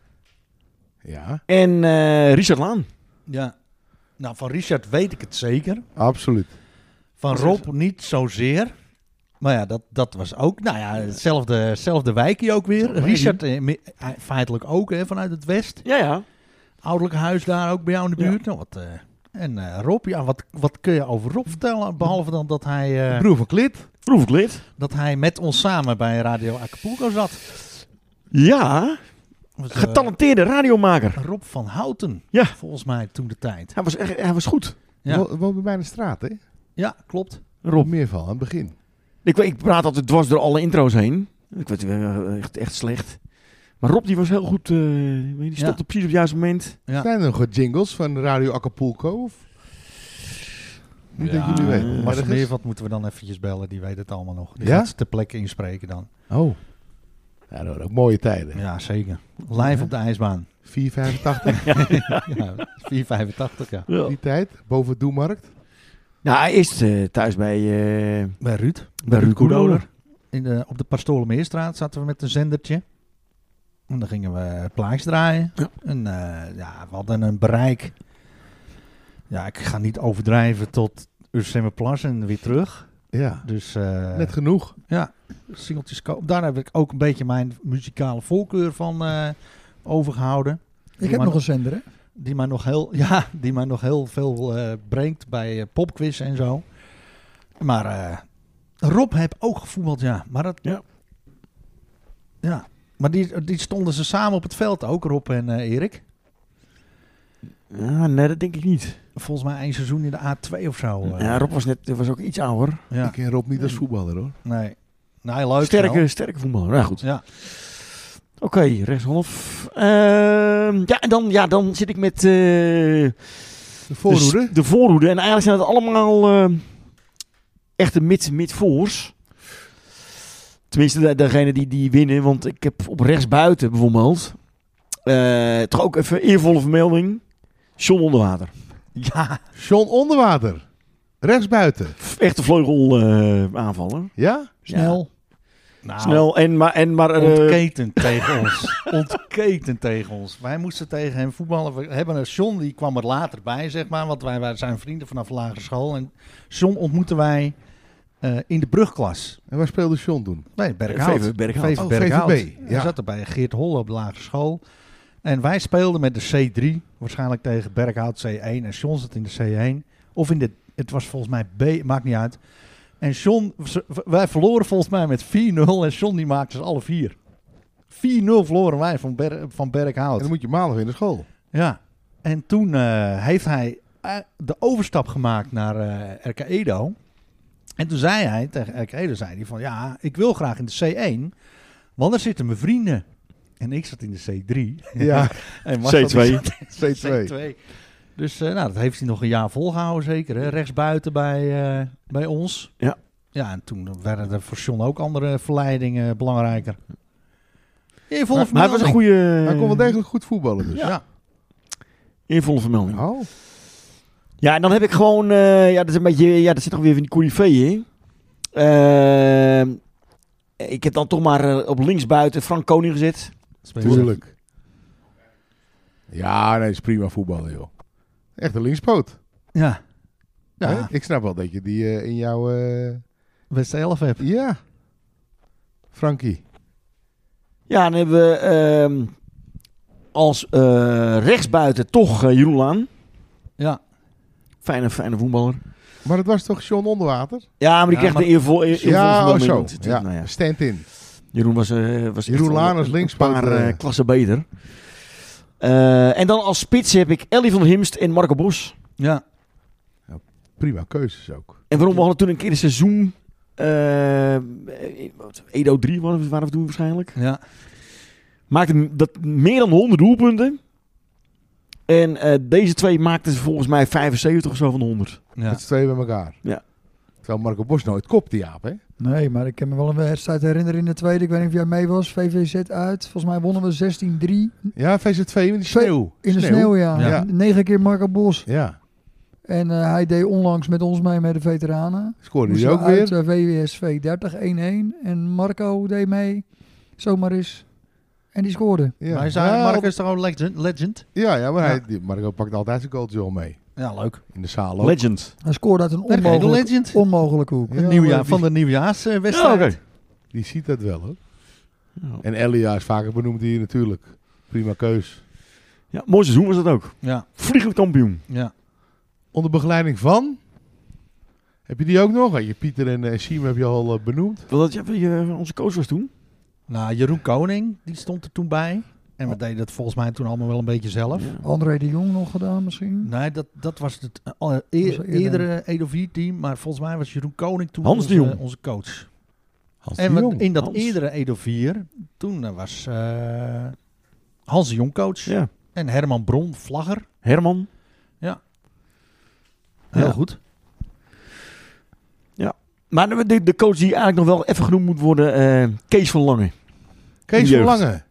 Ja, en eh, Richard Laan. Ja. Nou, van Richard weet ik het zeker. absoluut. Van Rob niet zozeer. Maar ja, dat, dat was ook. Nou ja, hetzelfde, hetzelfde wijkje ook weer. Hetzelfde Richard eh, mi- eh, feitelijk ook hè, vanuit het West. Ja, ja. Ouderlijk huis daar ook bij jou in de Ja. buurt. Nou, wat, eh, en eh, Rob, ja, wat, wat kun je over Rob vertellen? Behalve dan dat hij, eh, Broer van Klit. Proef ik lid. dat hij met ons samen bij Radio Acapulco zat. Ja, Was, eh, getalenteerde radiomaker. Rob van Houten, Ja. volgens mij toen de tijd. Hij was, echt, hij was goed. Ja. Wo- Woont bij mij in de straat, hè? Ja, klopt. Rob Meerval, aan het begin. Ik, weet- ik praat altijd dwars door alle intro's heen. Ik werd eh, echt, echt slecht. Maar Rob die was heel goed. eh, weet je, die stopte precies op het juiste moment. Ja. Zijn er nog wat jingles van Radio Acapulco? Of? Niet dat jullie weten. Maar Maar dat meer is... eh, wat moeten we dan eventjes bellen, die weet het allemaal nog. Die Ja? gaat ze ter plekke inspreken dan. Oh. Ja, dat waren ook mooie tijden. Ja, zeker. Live op de ijsbaan. 4,85 Ja, 4,85 ja. Ja. die tijd. Boven de Doemarkt. Nou, eerst eh, thuis bij, eh Bij Ruud. bij Ruud Koedoler. In de, op de Pastolenmeerstraat zaten we met een zendertje. En dan gingen we plaatjes draaien. Ja. En eh, ja, we hadden een bereik. Ja, ik ga niet overdrijven tot Ursemme Plas en weer terug. Ja, Dus eh, net genoeg. singeltjes kopen. Daar heb ik ook een beetje mijn muzikale voorkeur van eh, overgehouden. Ik maar heb nog nog- een zender, hè? Die mij nog heel, ja, die mij nog heel veel eh, brengt bij eh, popquiz en zo. Maar eh, Rob heb ook gevoetbald, ja. Maar, dat, Ja. Ja. maar die, die stonden ze samen op het veld ook, Rob en eh, Erik. Ja, Ah, nee, dat denk ik niet. Volgens mij één seizoen in de A2 of zo. eh. Ja, Rob was, net, was ook iets ouder. Ja. Ik ken Rob niet als voetballer hoor. Nee. Nee, leuk. wel. Sterke, sterke voetballer. Ja, goed. Ja. Oké, rechtshalf. Ehm, ja, en dan, ja, dan zit ik met eh, De voorhoede. Dus de, de voorhoede. En eigenlijk zijn het allemaal eh, echte mid, mid-voors. Tenminste, de- degene die, die winnen. Want ik heb op rechtsbuiten bijvoorbeeld... eh, toch ook even eervolle vermelding. John Onderwater. Ja. John Onderwater. Rechtsbuiten. Echte vleugel eh, aanvaller. Ja? Snel. Nou, Snel en maar... En maar eh, Ontketend tegen ons. Ontketend tegen ons. Wij moesten tegen hem voetballen. We hebben een John, die kwam er later bij, zeg maar. Want wij, wij zijn vrienden vanaf lagere school. En John ontmoetten wij eh, in de brugklas. En waar speelde John toen? Nee, Berghout. VV Berghout. VV Oh, Berghout. VVB, ja. We zaten bij Geert Holle op de lagere school. En wij speelden met de C3. Waarschijnlijk tegen Berghout C1. En John zat in de C1. Of in de... Het was volgens mij B, maakt niet uit. En John... ze- Wij verloren volgens mij met 4-0. En John die maakte ze alle vier. 4-0 verloren wij van, Ber, van En Berghout. dan moet je maandag weer naar school. Ja. En toen eh, heeft hij eh, de overstap gemaakt naar eh, RK Edo. En toen zei hij tegen RK Edo, zei hij van ja, ik wil graag in de C1, want daar zitten mijn vrienden. En ik zat in de C3. Ja, en Marcel die C2. zat in C2. de C2. Dus eh, nou, dat heeft hij nog een jaar volgehouden zeker, hè? rechtsbuiten bij, eh, bij ons. Ja. Ja, en toen werden er voor John ook andere verleidingen belangrijker. Ja, Maar, maar hij was een goede... hij kon wel degelijk goed voetballen dus. Ja. Eervolle vermelding. Oh, Ja, en dan heb ik gewoon... eh, ja, dat is een beetje... Ja, dat zit nog weer van die coryfeeën in. Ehm, ik heb dan toch maar eh, op linksbuiten Frank Koning gezet. tuurlijk. Ja, nee, is prima voetballen joh. Echt een linkspoot. Ja. Hè? Ik snap wel dat je die eh, in jouw... eh, beste elf heb. Ja. Frankie. Ja, dan hebben we ehm, als eh, rechtsbuiten toch eh, Jeroen Laan. Ja. Fijne, fijne voetballer. Maar het was toch John Onderwater? Ja, maar die Ja, kreeg maar- de eervolle eer, Ja, oh vermelding. zo. Het- Ja, nou ja. stand-in. Jeroen was, eh was Jeroen echt wel Laan als een- linkspoot, Een paar eh, eh. klassen beter. Eh, en dan als spits heb ik Ellie van der Himst en Marco Bos. Ja. Prima keuzes ook. En waarom we hadden toen een keer een seizoen... eh, wat, Edo 3 waren we, waren we toen waarschijnlijk. Ja. Maakte m- dat meer dan 100 doelpunten. En eh, deze twee maakten ze volgens mij 75 of zo van de 100. Ja. Met z'n tweeën bij elkaar. Ja. Terwijl Marco Bos nooit kopte, Jaap, hè? Nee, maar ik kan me wel een wedstrijd herinneren in de tweede. Ik weet niet of jij mee was. VVZ uit. Volgens mij wonnen we 16-3. Ja, VZ2 in de sneeuw. In de sneeuw, ja. Ja. Negen keer Marco Bos. Ja. En eh, hij deed onlangs met ons mee met de veteranen. Scoorde hij Moesten ook we uit weer. eh, WWSV 30-1-1. En Marco deed mee. Zomaar eens. En die scoorde. Ja. Maar hij zei, ja, Mark op- is toch een legend? legend? ja, ja, maar Ja. Hij, die- Marco pakt altijd zijn goaltje al mee. Ja, leuk. In de zaal ook. Legend. Hij scoorde uit een Nee, geen onmogelijk, legend. onmogelijke hoek. Ja, maar Nieuwjaar, die- van de nieuwjaarswedstrijd. Ja, oké. Die ziet dat wel, hoor. Ja. En Elia is vaker benoemd hier natuurlijk. Prima keus. Ja, mooi seizoen was dat ook. Ja, Vliegend kampioen. ja. Onder begeleiding van... Heb je die ook nog? Had Je Pieter en eh, Siem heb je al eh, benoemd. Wel Dat je, je eh, onze coach was toen. Nou, Jeroen Koning, die stond er toen bij. En we deden dat volgens mij toen allemaal wel een beetje zelf. Ja. André de Jong nog gedaan misschien. Nee, dat, dat was het eh, al- eer- was eerder. eerdere Edo 4-team. Maar volgens mij was Jeroen Koning toen Hans de onze, Jong. onze coach. Hans En de we- Jong. in dat Hans. eerdere Edo 4, toen eh, was eh, Hans de Jong coach. Ja. En Herman Bron, vlagger. Herman. Heel Ja. goed. Maar de, de coach die eigenlijk nog wel even genoemd moet worden, eh, Kees van Lange. Kees van jeugd. Lange.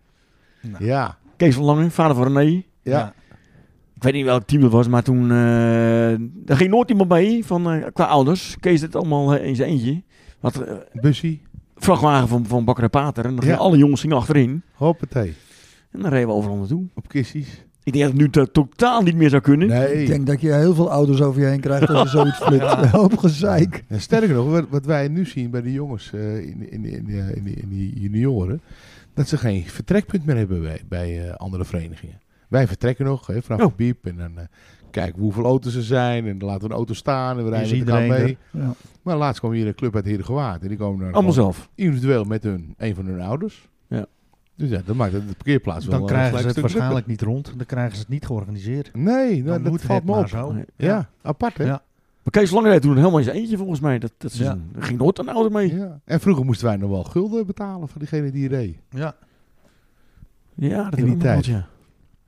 Nou. Ja. Kees van Lange, vader van René. Ja. Ik weet niet welk team dat was, maar toen... eh er ging nooit iemand mee van, eh, qua ouders. Kees deed het allemaal eh, in zijn eentje. Wat eh, Bussie. vrachtwagen van, van Bakker en Pater. En dan gingen Ja. alle jongens gingen achterin. Hoppatee. En dan reden we overal naartoe. Op kissies. Ik denk dat het nu to- totaal niet meer zou kunnen. Ik Nee. denk dat je heel veel ouders over je heen krijgt als je zoiets flipt. Een hoop gezeik. En eh, sterker nog, wat, wat wij nu zien bij de jongens eh, in, in, in, in, in, in die junioren. dat ze geen vertrekpunt meer hebben bij, bij eh, andere verenigingen. Wij vertrekken nog hè, vanaf Oh. de piep en dan eh, kijken we hoeveel auto's er zijn. En dan laten we een auto staan en we rijden is met elkaar iedereen mee. Ja. Maar laatst kwam hier een club uit Heerdegewaard en die komen dan Allemaal gewoon zelf. individueel met hun, een van hun ouders. Ja. Dus ja, dat maakt het de parkeerplaats wel Dan eh, krijgen gelijk ze een het stuk waarschijnlijk niet rond. Dan krijgen ze het niet georganiseerd. drukker. Nee, Dan nou, dat moet valt het me maar op. zo. Nee. Ja, apart hè? Ja. Maar Kees Langerijk doet het helemaal in zijn eentje volgens mij. Dat, dat Ja. seizoen. Er ging nooit een auto mee. Ja. En vroeger moesten wij nog wel gulden betalen van diegene die reed. Ja. Ja, dat In die heb ik nog tijd. gehad, Ja.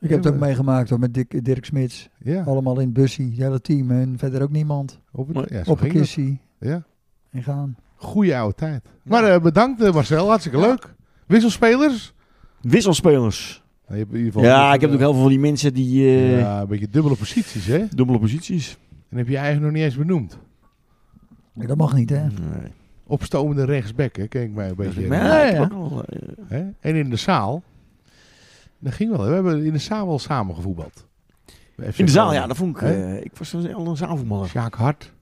Ik heb het ook maar- meegemaakt hoor, met Dick, Dirk Smits. Ja, Allemaal in het bussie, het hele team en verder ook niemand. op, Mooi. het, ja, zo Op een ging dat. kissie Ja. en gaan. Goeie oude tijd. Maar eh, bedankt eh, Marcel, hartstikke leuk. Wisselspelers? Wisselspelers. Nou, je hebt in ieder geval- Ja, ik heb ook heel veel van die mensen die eh, Ja, een beetje dubbele posities hè? dubbele posities. En heb je eigenlijk nog niet eens benoemd. Ja, dat mag niet hè. Mm. Nee. Opstomende rechtsback hè, kijk mij een beetje. Maar Ja, ja, ik heb ja. ook al, eh, Hè? En in de zaal. Dat ging wel. We hebben in de zaal wel samen gevoetbald. Bij FC In de zaal, Groningen. ja, dat vond ik. Hè? eh, ik was wel een zaalvoetballer. Sjaak Hart.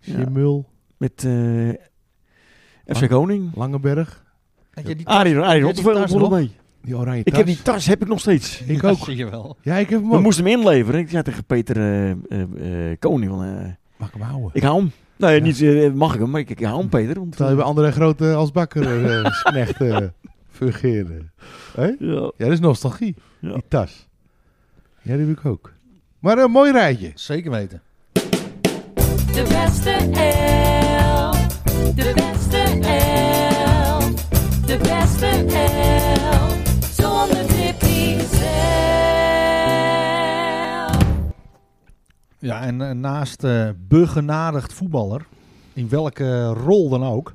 Jim Ja. Mul. Met eh, FC Koning. Langenberg. Had je die Arie, Arie die Rotterdam tas vond nog? mee. Die oranje Ik tas. heb die tas, heb ik nog steeds. Ik Ja, ook. zie je wel. Ja, ik heb hem We ook. moesten hem inleveren. Ik zei tegen Peter eh, eh, eh, Koning, van, eh, Mag ik hem houden? ik hou hem. Nee, Ja. niet eh, mag ik hem, maar ik, ik hou hem, Peter. Want, eh, Terwijl je bij andere grote als bakker eh, knecht eh, fungeerde. ja. Ja, dat is nostalgie. Ja. Die tas. Ja, die heb ik ook. Maar een mooi rijtje. Zeker weten. De beste elf. De beste elf. De beste elf. Zonder Tippy zelf. Ja, en eh, naast eh begenadigd voetballer, in welke rol dan ook,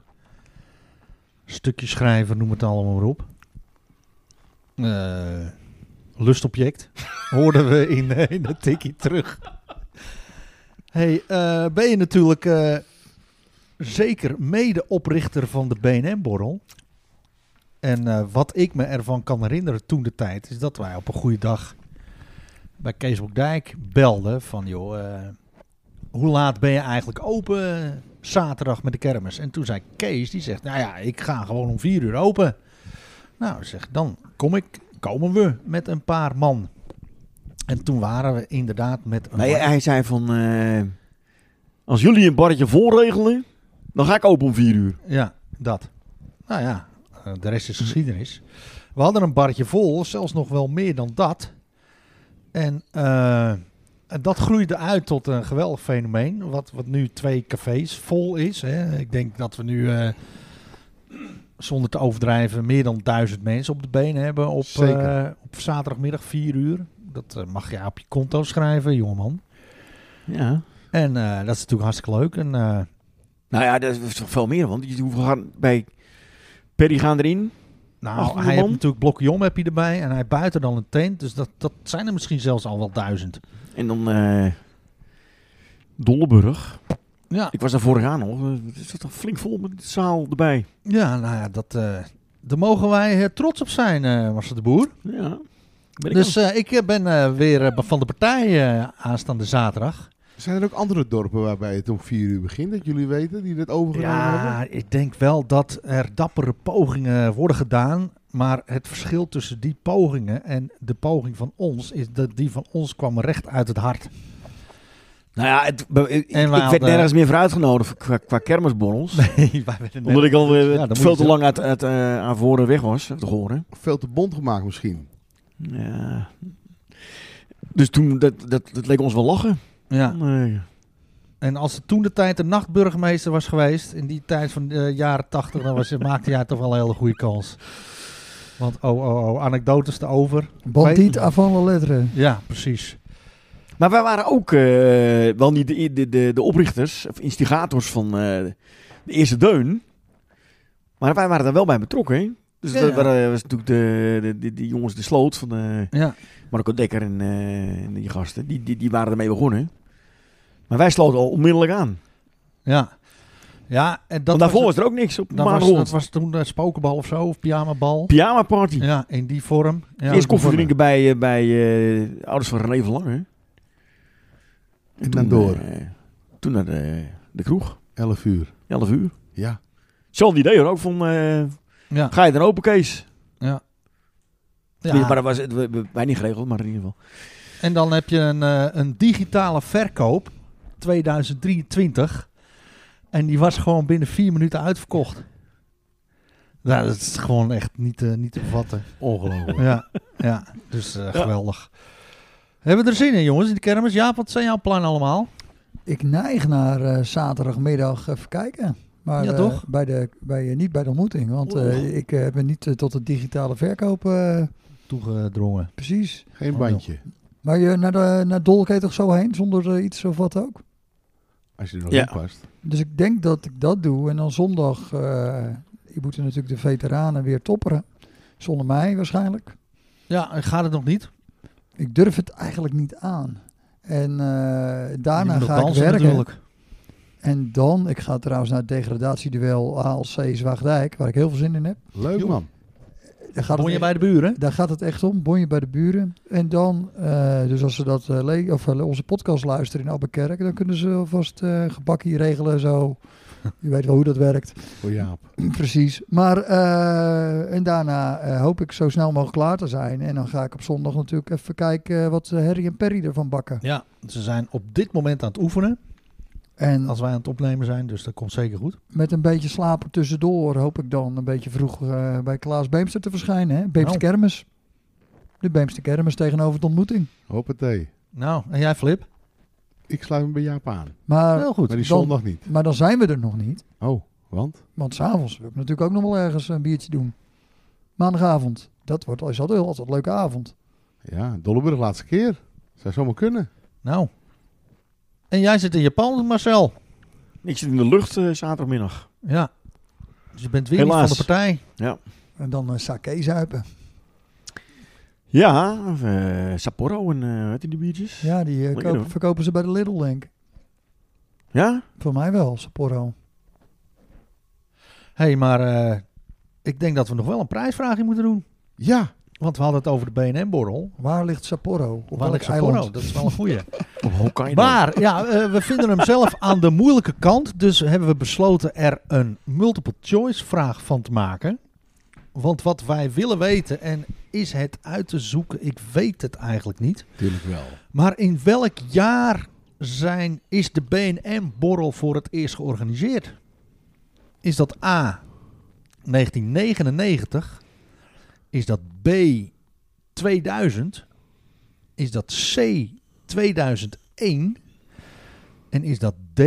stukje schrijver, noem het allemaal maar op, Eh, lustobject, hoorden we in, eh, in de tikkie terug. hey, eh, ben je natuurlijk eh, zeker medeoprichter van de BNM-borrel. En eh, wat ik me ervan kan herinneren toen de tijd, is dat wij op een goede dag bij Kees Dijk belde van joh, eh, hoe laat ben je eigenlijk open zaterdag met de kermis? En toen zei Kees, die zegt, nou ja, ik ga gewoon om vier uur open. Nou, zeg, dan kom ik, komen we met een paar man. En toen waren we inderdaad met een Nee, man- hij zei van, eh, als jullie een barretje voorregelen, dan ga ik open om vier uur. Ja, dat. Nou ja, eh, de rest is geschiedenis. We hadden een barretje vol, zelfs nog wel meer dan dat. En eh, en dat groeide uit tot een geweldig fenomeen. Wat, wat nu twee cafés vol is. Hè. Ik denk dat we nu, eh, zonder te overdrijven, meer dan duizend mensen op de been hebben. Op, Zeker. eh, op zaterdagmiddag vier uur. Dat eh, mag je op je konto schrijven, jongeman. Ja. En eh, dat is natuurlijk hartstikke leuk. En, eh, Nou ja, dat is toch veel meer, want je hoeft gaan bij Perry gaan erin. Nou, 800 hij heeft man? natuurlijk Blokkejom heb je erbij en hij buiten dan een tent. Dus dat, dat zijn er misschien zelfs al wel duizend. En dan eh Dolleburg. Ja, Ik was daar vorig jaar nog. eh, Het is toch flink vol met de zaal erbij. ja nou ja, dat, eh, daar mogen wij eh, trots op zijn, eh was het de boer. Ja. Ben ik dus eh, ik eh, ben eh, weer eh, van de partij eh, aanstaande zaterdag. Zijn er ook andere dorpen waarbij het om vier uur begint, dat jullie weten, die dat overgenomen hebben? Ja, ik denk wel dat er dappere pogingen worden gedaan. Maar het verschil tussen die pogingen en de poging van ons is dat die van ons kwam recht uit het hart. Nou ja, het, be- ik, En ik wij werd hadden- nergens meer voor uitgenodigd qua, qua kermisborrels. Nee, wij werden omdat ik al eh, Ja, dan moet veel je te lang uit, uit eh, aan voren weg was, eh, te horen. Veel te bond gemaakt misschien. Ja. Dus toen, dat, dat, dat leek ons wel lachen. Ja. Nee. En als er toen de tijd de nachtburgemeester was geweest, in die tijd van de jaren tachtig, dan was, maakte jij toch wel een hele goede kans. Want oh, oh, oh, anekdotes te over. Bandiet avant la lettre. Ja, precies. Maar wij waren ook eh, wel niet de, de, de, de oprichters of instigators van eh, de eerste deun. Maar wij waren daar wel bij betrokken. hè. Dus Ja, dat ja. waren, was natuurlijk de, de, die- die jongens de sloot van eh, Ja. Marco Dekker en, eh, en die gasten. Die, die, die waren ermee begonnen. Maar wij sloten al onmiddellijk aan. Ja. Ja, en dat Want daarvoor was, was er ook niks op dat was, dat maandagochtend. was toen eh, spokenbal of zo, of pyjamabal. Pyjama party. Ja, in die vorm. Ja, Eerst koffie vorm. drinken bij, eh, bij eh, de ouders van René van Lange. En, En dan door. eh, toen naar de, de kroeg. Elf uur. 11 uur. Ja. Hetzelfde idee hoor, ook van eh, Ja, ga je dan open Kees? ja. Ja. Maar dat was het, we- we- wij niet geregeld, maar in ieder geval. En dan heb je een, eh, een digitale verkoop 2023. En die was gewoon binnen vier minuten uitverkocht. Nou, dat is gewoon echt niet, eh, niet te bevatten. Ongelooflijk. Ja, ja. dus eh, geweldig. Hebben we er zin in, jongens, in de kermis? Ja, wat zijn jouw plannen allemaal? Ik neig naar eh, zaterdagmiddag even kijken. Maar Ja, eh, toch? bij de, bij, eh, niet bij de ontmoeting, want eh, Oeh. ik eh, ben niet eh, tot de digitale verkoop eh, Toegedrongen. precies. Geen Oh, bandje. Maar je naar, de, naar Dol kan je toch zo heen zonder eh, iets of wat ook? Als je er nog Ja. in past. Dus ik denk dat ik dat doe. En dan zondag, eh je moet natuurlijk de veteranen weer topperen. Zonder mij waarschijnlijk. Ja, en gaat het nog niet? Ik durf het eigenlijk niet aan. En eh, Je daarna moet nog ga ik dansen werken. natuurlijk. En dan, ik ga trouwens naar het degradatieduel ALC Zwaagdijk, waar ik heel veel zin in heb. Leuk Joh. man. Daar gaat, Woon het, je bij de buren? daar gaat het echt om, bonje bij de buren. En dan, eh, dus als ze dat, eh, le- of, eh, onze podcast luisteren in Abbekerk, dan kunnen ze alvast eh gebak hier regelen zo. Je weet wel hoe dat werkt. Voor Jaap. Precies. Maar eh, en daarna eh, hoop ik zo snel mogelijk klaar te zijn. En dan ga ik op zondag natuurlijk even kijken eh, wat eh, Harry en Perry ervan bakken. Ja, ze zijn op dit moment aan het oefenen. En Als wij aan het opnemen zijn, dus dat komt zeker goed. met een beetje slapen tussendoor hoop ik dan een beetje vroeg eh, bij Klaas Beemster te verschijnen. Hè? Beemster Nou. Kermis. De Beemster Kermis tegenover de ontmoeting. Hoppatee. Nou, en jij Flip? Ik sluit me bij Jaap aan. Maar, Heel goed. Maar die dan- zondag niet. maar dan zijn we er nog niet. Oh, want? Want s'avonds wil ik natuurlijk ook nog wel ergens een biertje doen. Maandagavond. Dat wordt is altijd, altijd een leuke avond. Ja, Dolleburg laatste keer. Zou zomaar kunnen. Nou. En jij zit in Japan, Marcel. Ik zit in de lucht eh, zaterdagmiddag. Ja. Dus je bent weer Helaas. niet van de partij. En dan eh, sake zuipen. Ja, eh, Sapporo en eh wat die biertjes? Ja, die eh, Lekker, kopen- hoor. verkopen ze bij de Lidl, denk ik. Ja? Voor mij wel, Sapporo. Hé, hey, maar eh, ik denk dat we nog wel een prijsvraagje moeten doen. Ja. Want we hadden het over de BNM-borrel. Waar ligt Sapporo? Op Waar welk ligt Sapporo? eiland? Dat is wel een goeie. Op Hokkaido. maar ja, eh, we vinden hem zelf aan de moeilijke kant. Dus hebben we besloten er een multiple choice vraag van te maken. Want wat wij willen weten, en is het uit te zoeken, ik weet het eigenlijk niet. Tuurlijk wel. Maar in welk jaar zijn, is de BNM-borrel voor het eerst georganiseerd? Is dat A, 1999? Is dat B, 2000? Is dat C, 2001? En is dat D,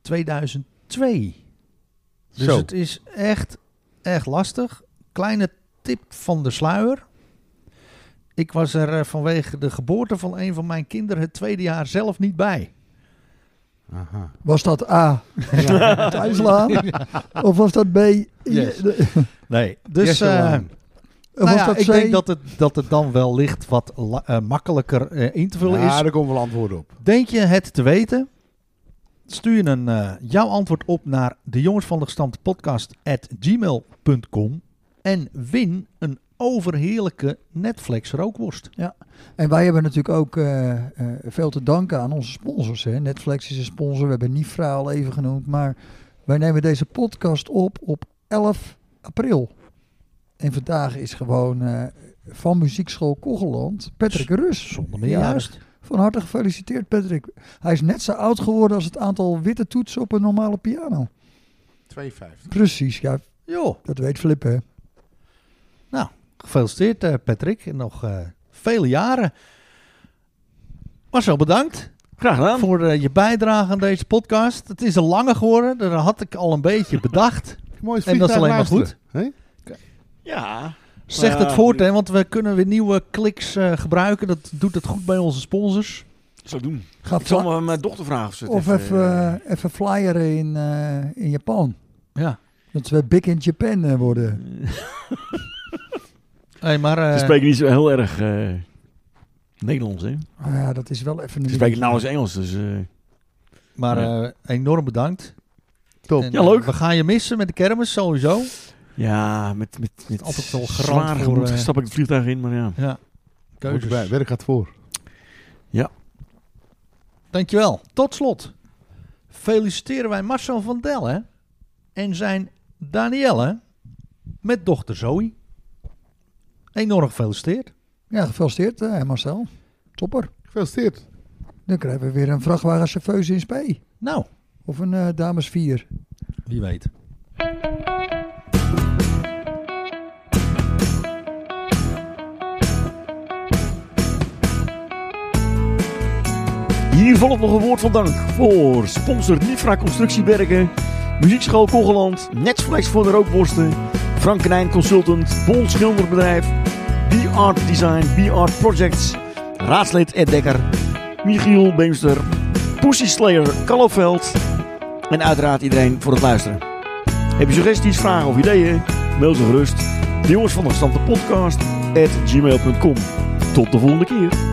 2002? Dus Zo. het is echt, echt lastig. Kleine tip van de sluier. Ik was er eh, vanwege de geboorte van een van mijn kinderen het tweede jaar zelf niet bij. Aha. Was dat A, Thuislaan? Of was dat B? Yes. Eh, of Nee, dus Yes, eh, Johan. nou was ja, dat ik C? denk dat het, dat het dan wel licht wat la- eh, makkelijker eh, in te vullen is. Ja, daar komt wel antwoord op. Denk je het te weten? Stuur je een, eh, jouw antwoord op naar de jongens van de gestampte podcast at gmail.com en win een overheerlijke Netflix rookworst. En wij hebben natuurlijk ook eh, eh, veel te danken aan onze sponsors. Hè? Netflix is een sponsor, we hebben Nifra al even genoemd. Maar wij nemen deze podcast op op 11 april. En vandaag is gewoon eh, van muziekschool Kogeland Patrick Rus. Zonder meer Ja, juist. Van harte gefeliciteerd Patrick. Hij is net zo oud geworden als het aantal witte toetsen op een normale piano. 2,50. Precies, ja, Joh, dat weet Flip hè. gefeliciteerd eh, Patrick. En nog eh, vele jaren. Marcel, bedankt. Graag gedaan. voor eh, je bijdrage aan deze podcast. Het is een lange geworden, dat had ik al een beetje bedacht. Mooi En dat is alleen maar vliegtuig luisteren, Ja. Zeg Ja, het voort, hè, want we kunnen weer nieuwe kliks eh, gebruiken. Dat doet het goed bij onze sponsors. Ik zal het doen. Ga Ik zal fly- maar mijn dochter vragen of ze het of even, eh, eh, even flyeren in, eh, in Japan. Ja. Dat we big in Japan eh, worden. Hey, maar, eh, Ze spreken niet zo heel erg eh, Nederlands, hè? Maar ja, dat is wel even... een Ze dingetje. spreken nauwelijks Engels, dus... eh, maar eh, enorm bedankt. Top. En, Oh, eh, Ja, leuk. We gaan je missen met de kermis, sowieso. ja, met, met, met Altijd wel garant zwaar voor, gemoed eh, stap ik het vliegtuig in, maar ja. Ja. Goed erbij. Keuzes. Werk gaat voor. Dankjewel. Tot slot feliciteren wij Marcel van Delle en zijn Danielle met dochter Zoe. Enorm gefeliciteerd. Ja, gefeliciteerd eh, Marcel. Topper. Gefeliciteerd. Dan krijgen we weer een vrachtwagenchauffeur in spe. Nou, Of een eh, dames 4. wie weet. Hier volgt nog een woord van dank voor sponsor Nifra Constructiebergen, Muziekschool Kogeland, Netflix voor de rookworsten, Frank Knijn Consultant, Bol Schilderbedrijf, B-Art Design, B-Art Projects, raadslid Ed Dekker, Michiel Beemster, Pussy Slayer Kalloveld en uiteraard iedereen voor het luisteren. Heb je suggesties, vragen of ideeën? Mail ze gerust. De jongens van de gestante podcast at gmail.com. Tot de volgende keer.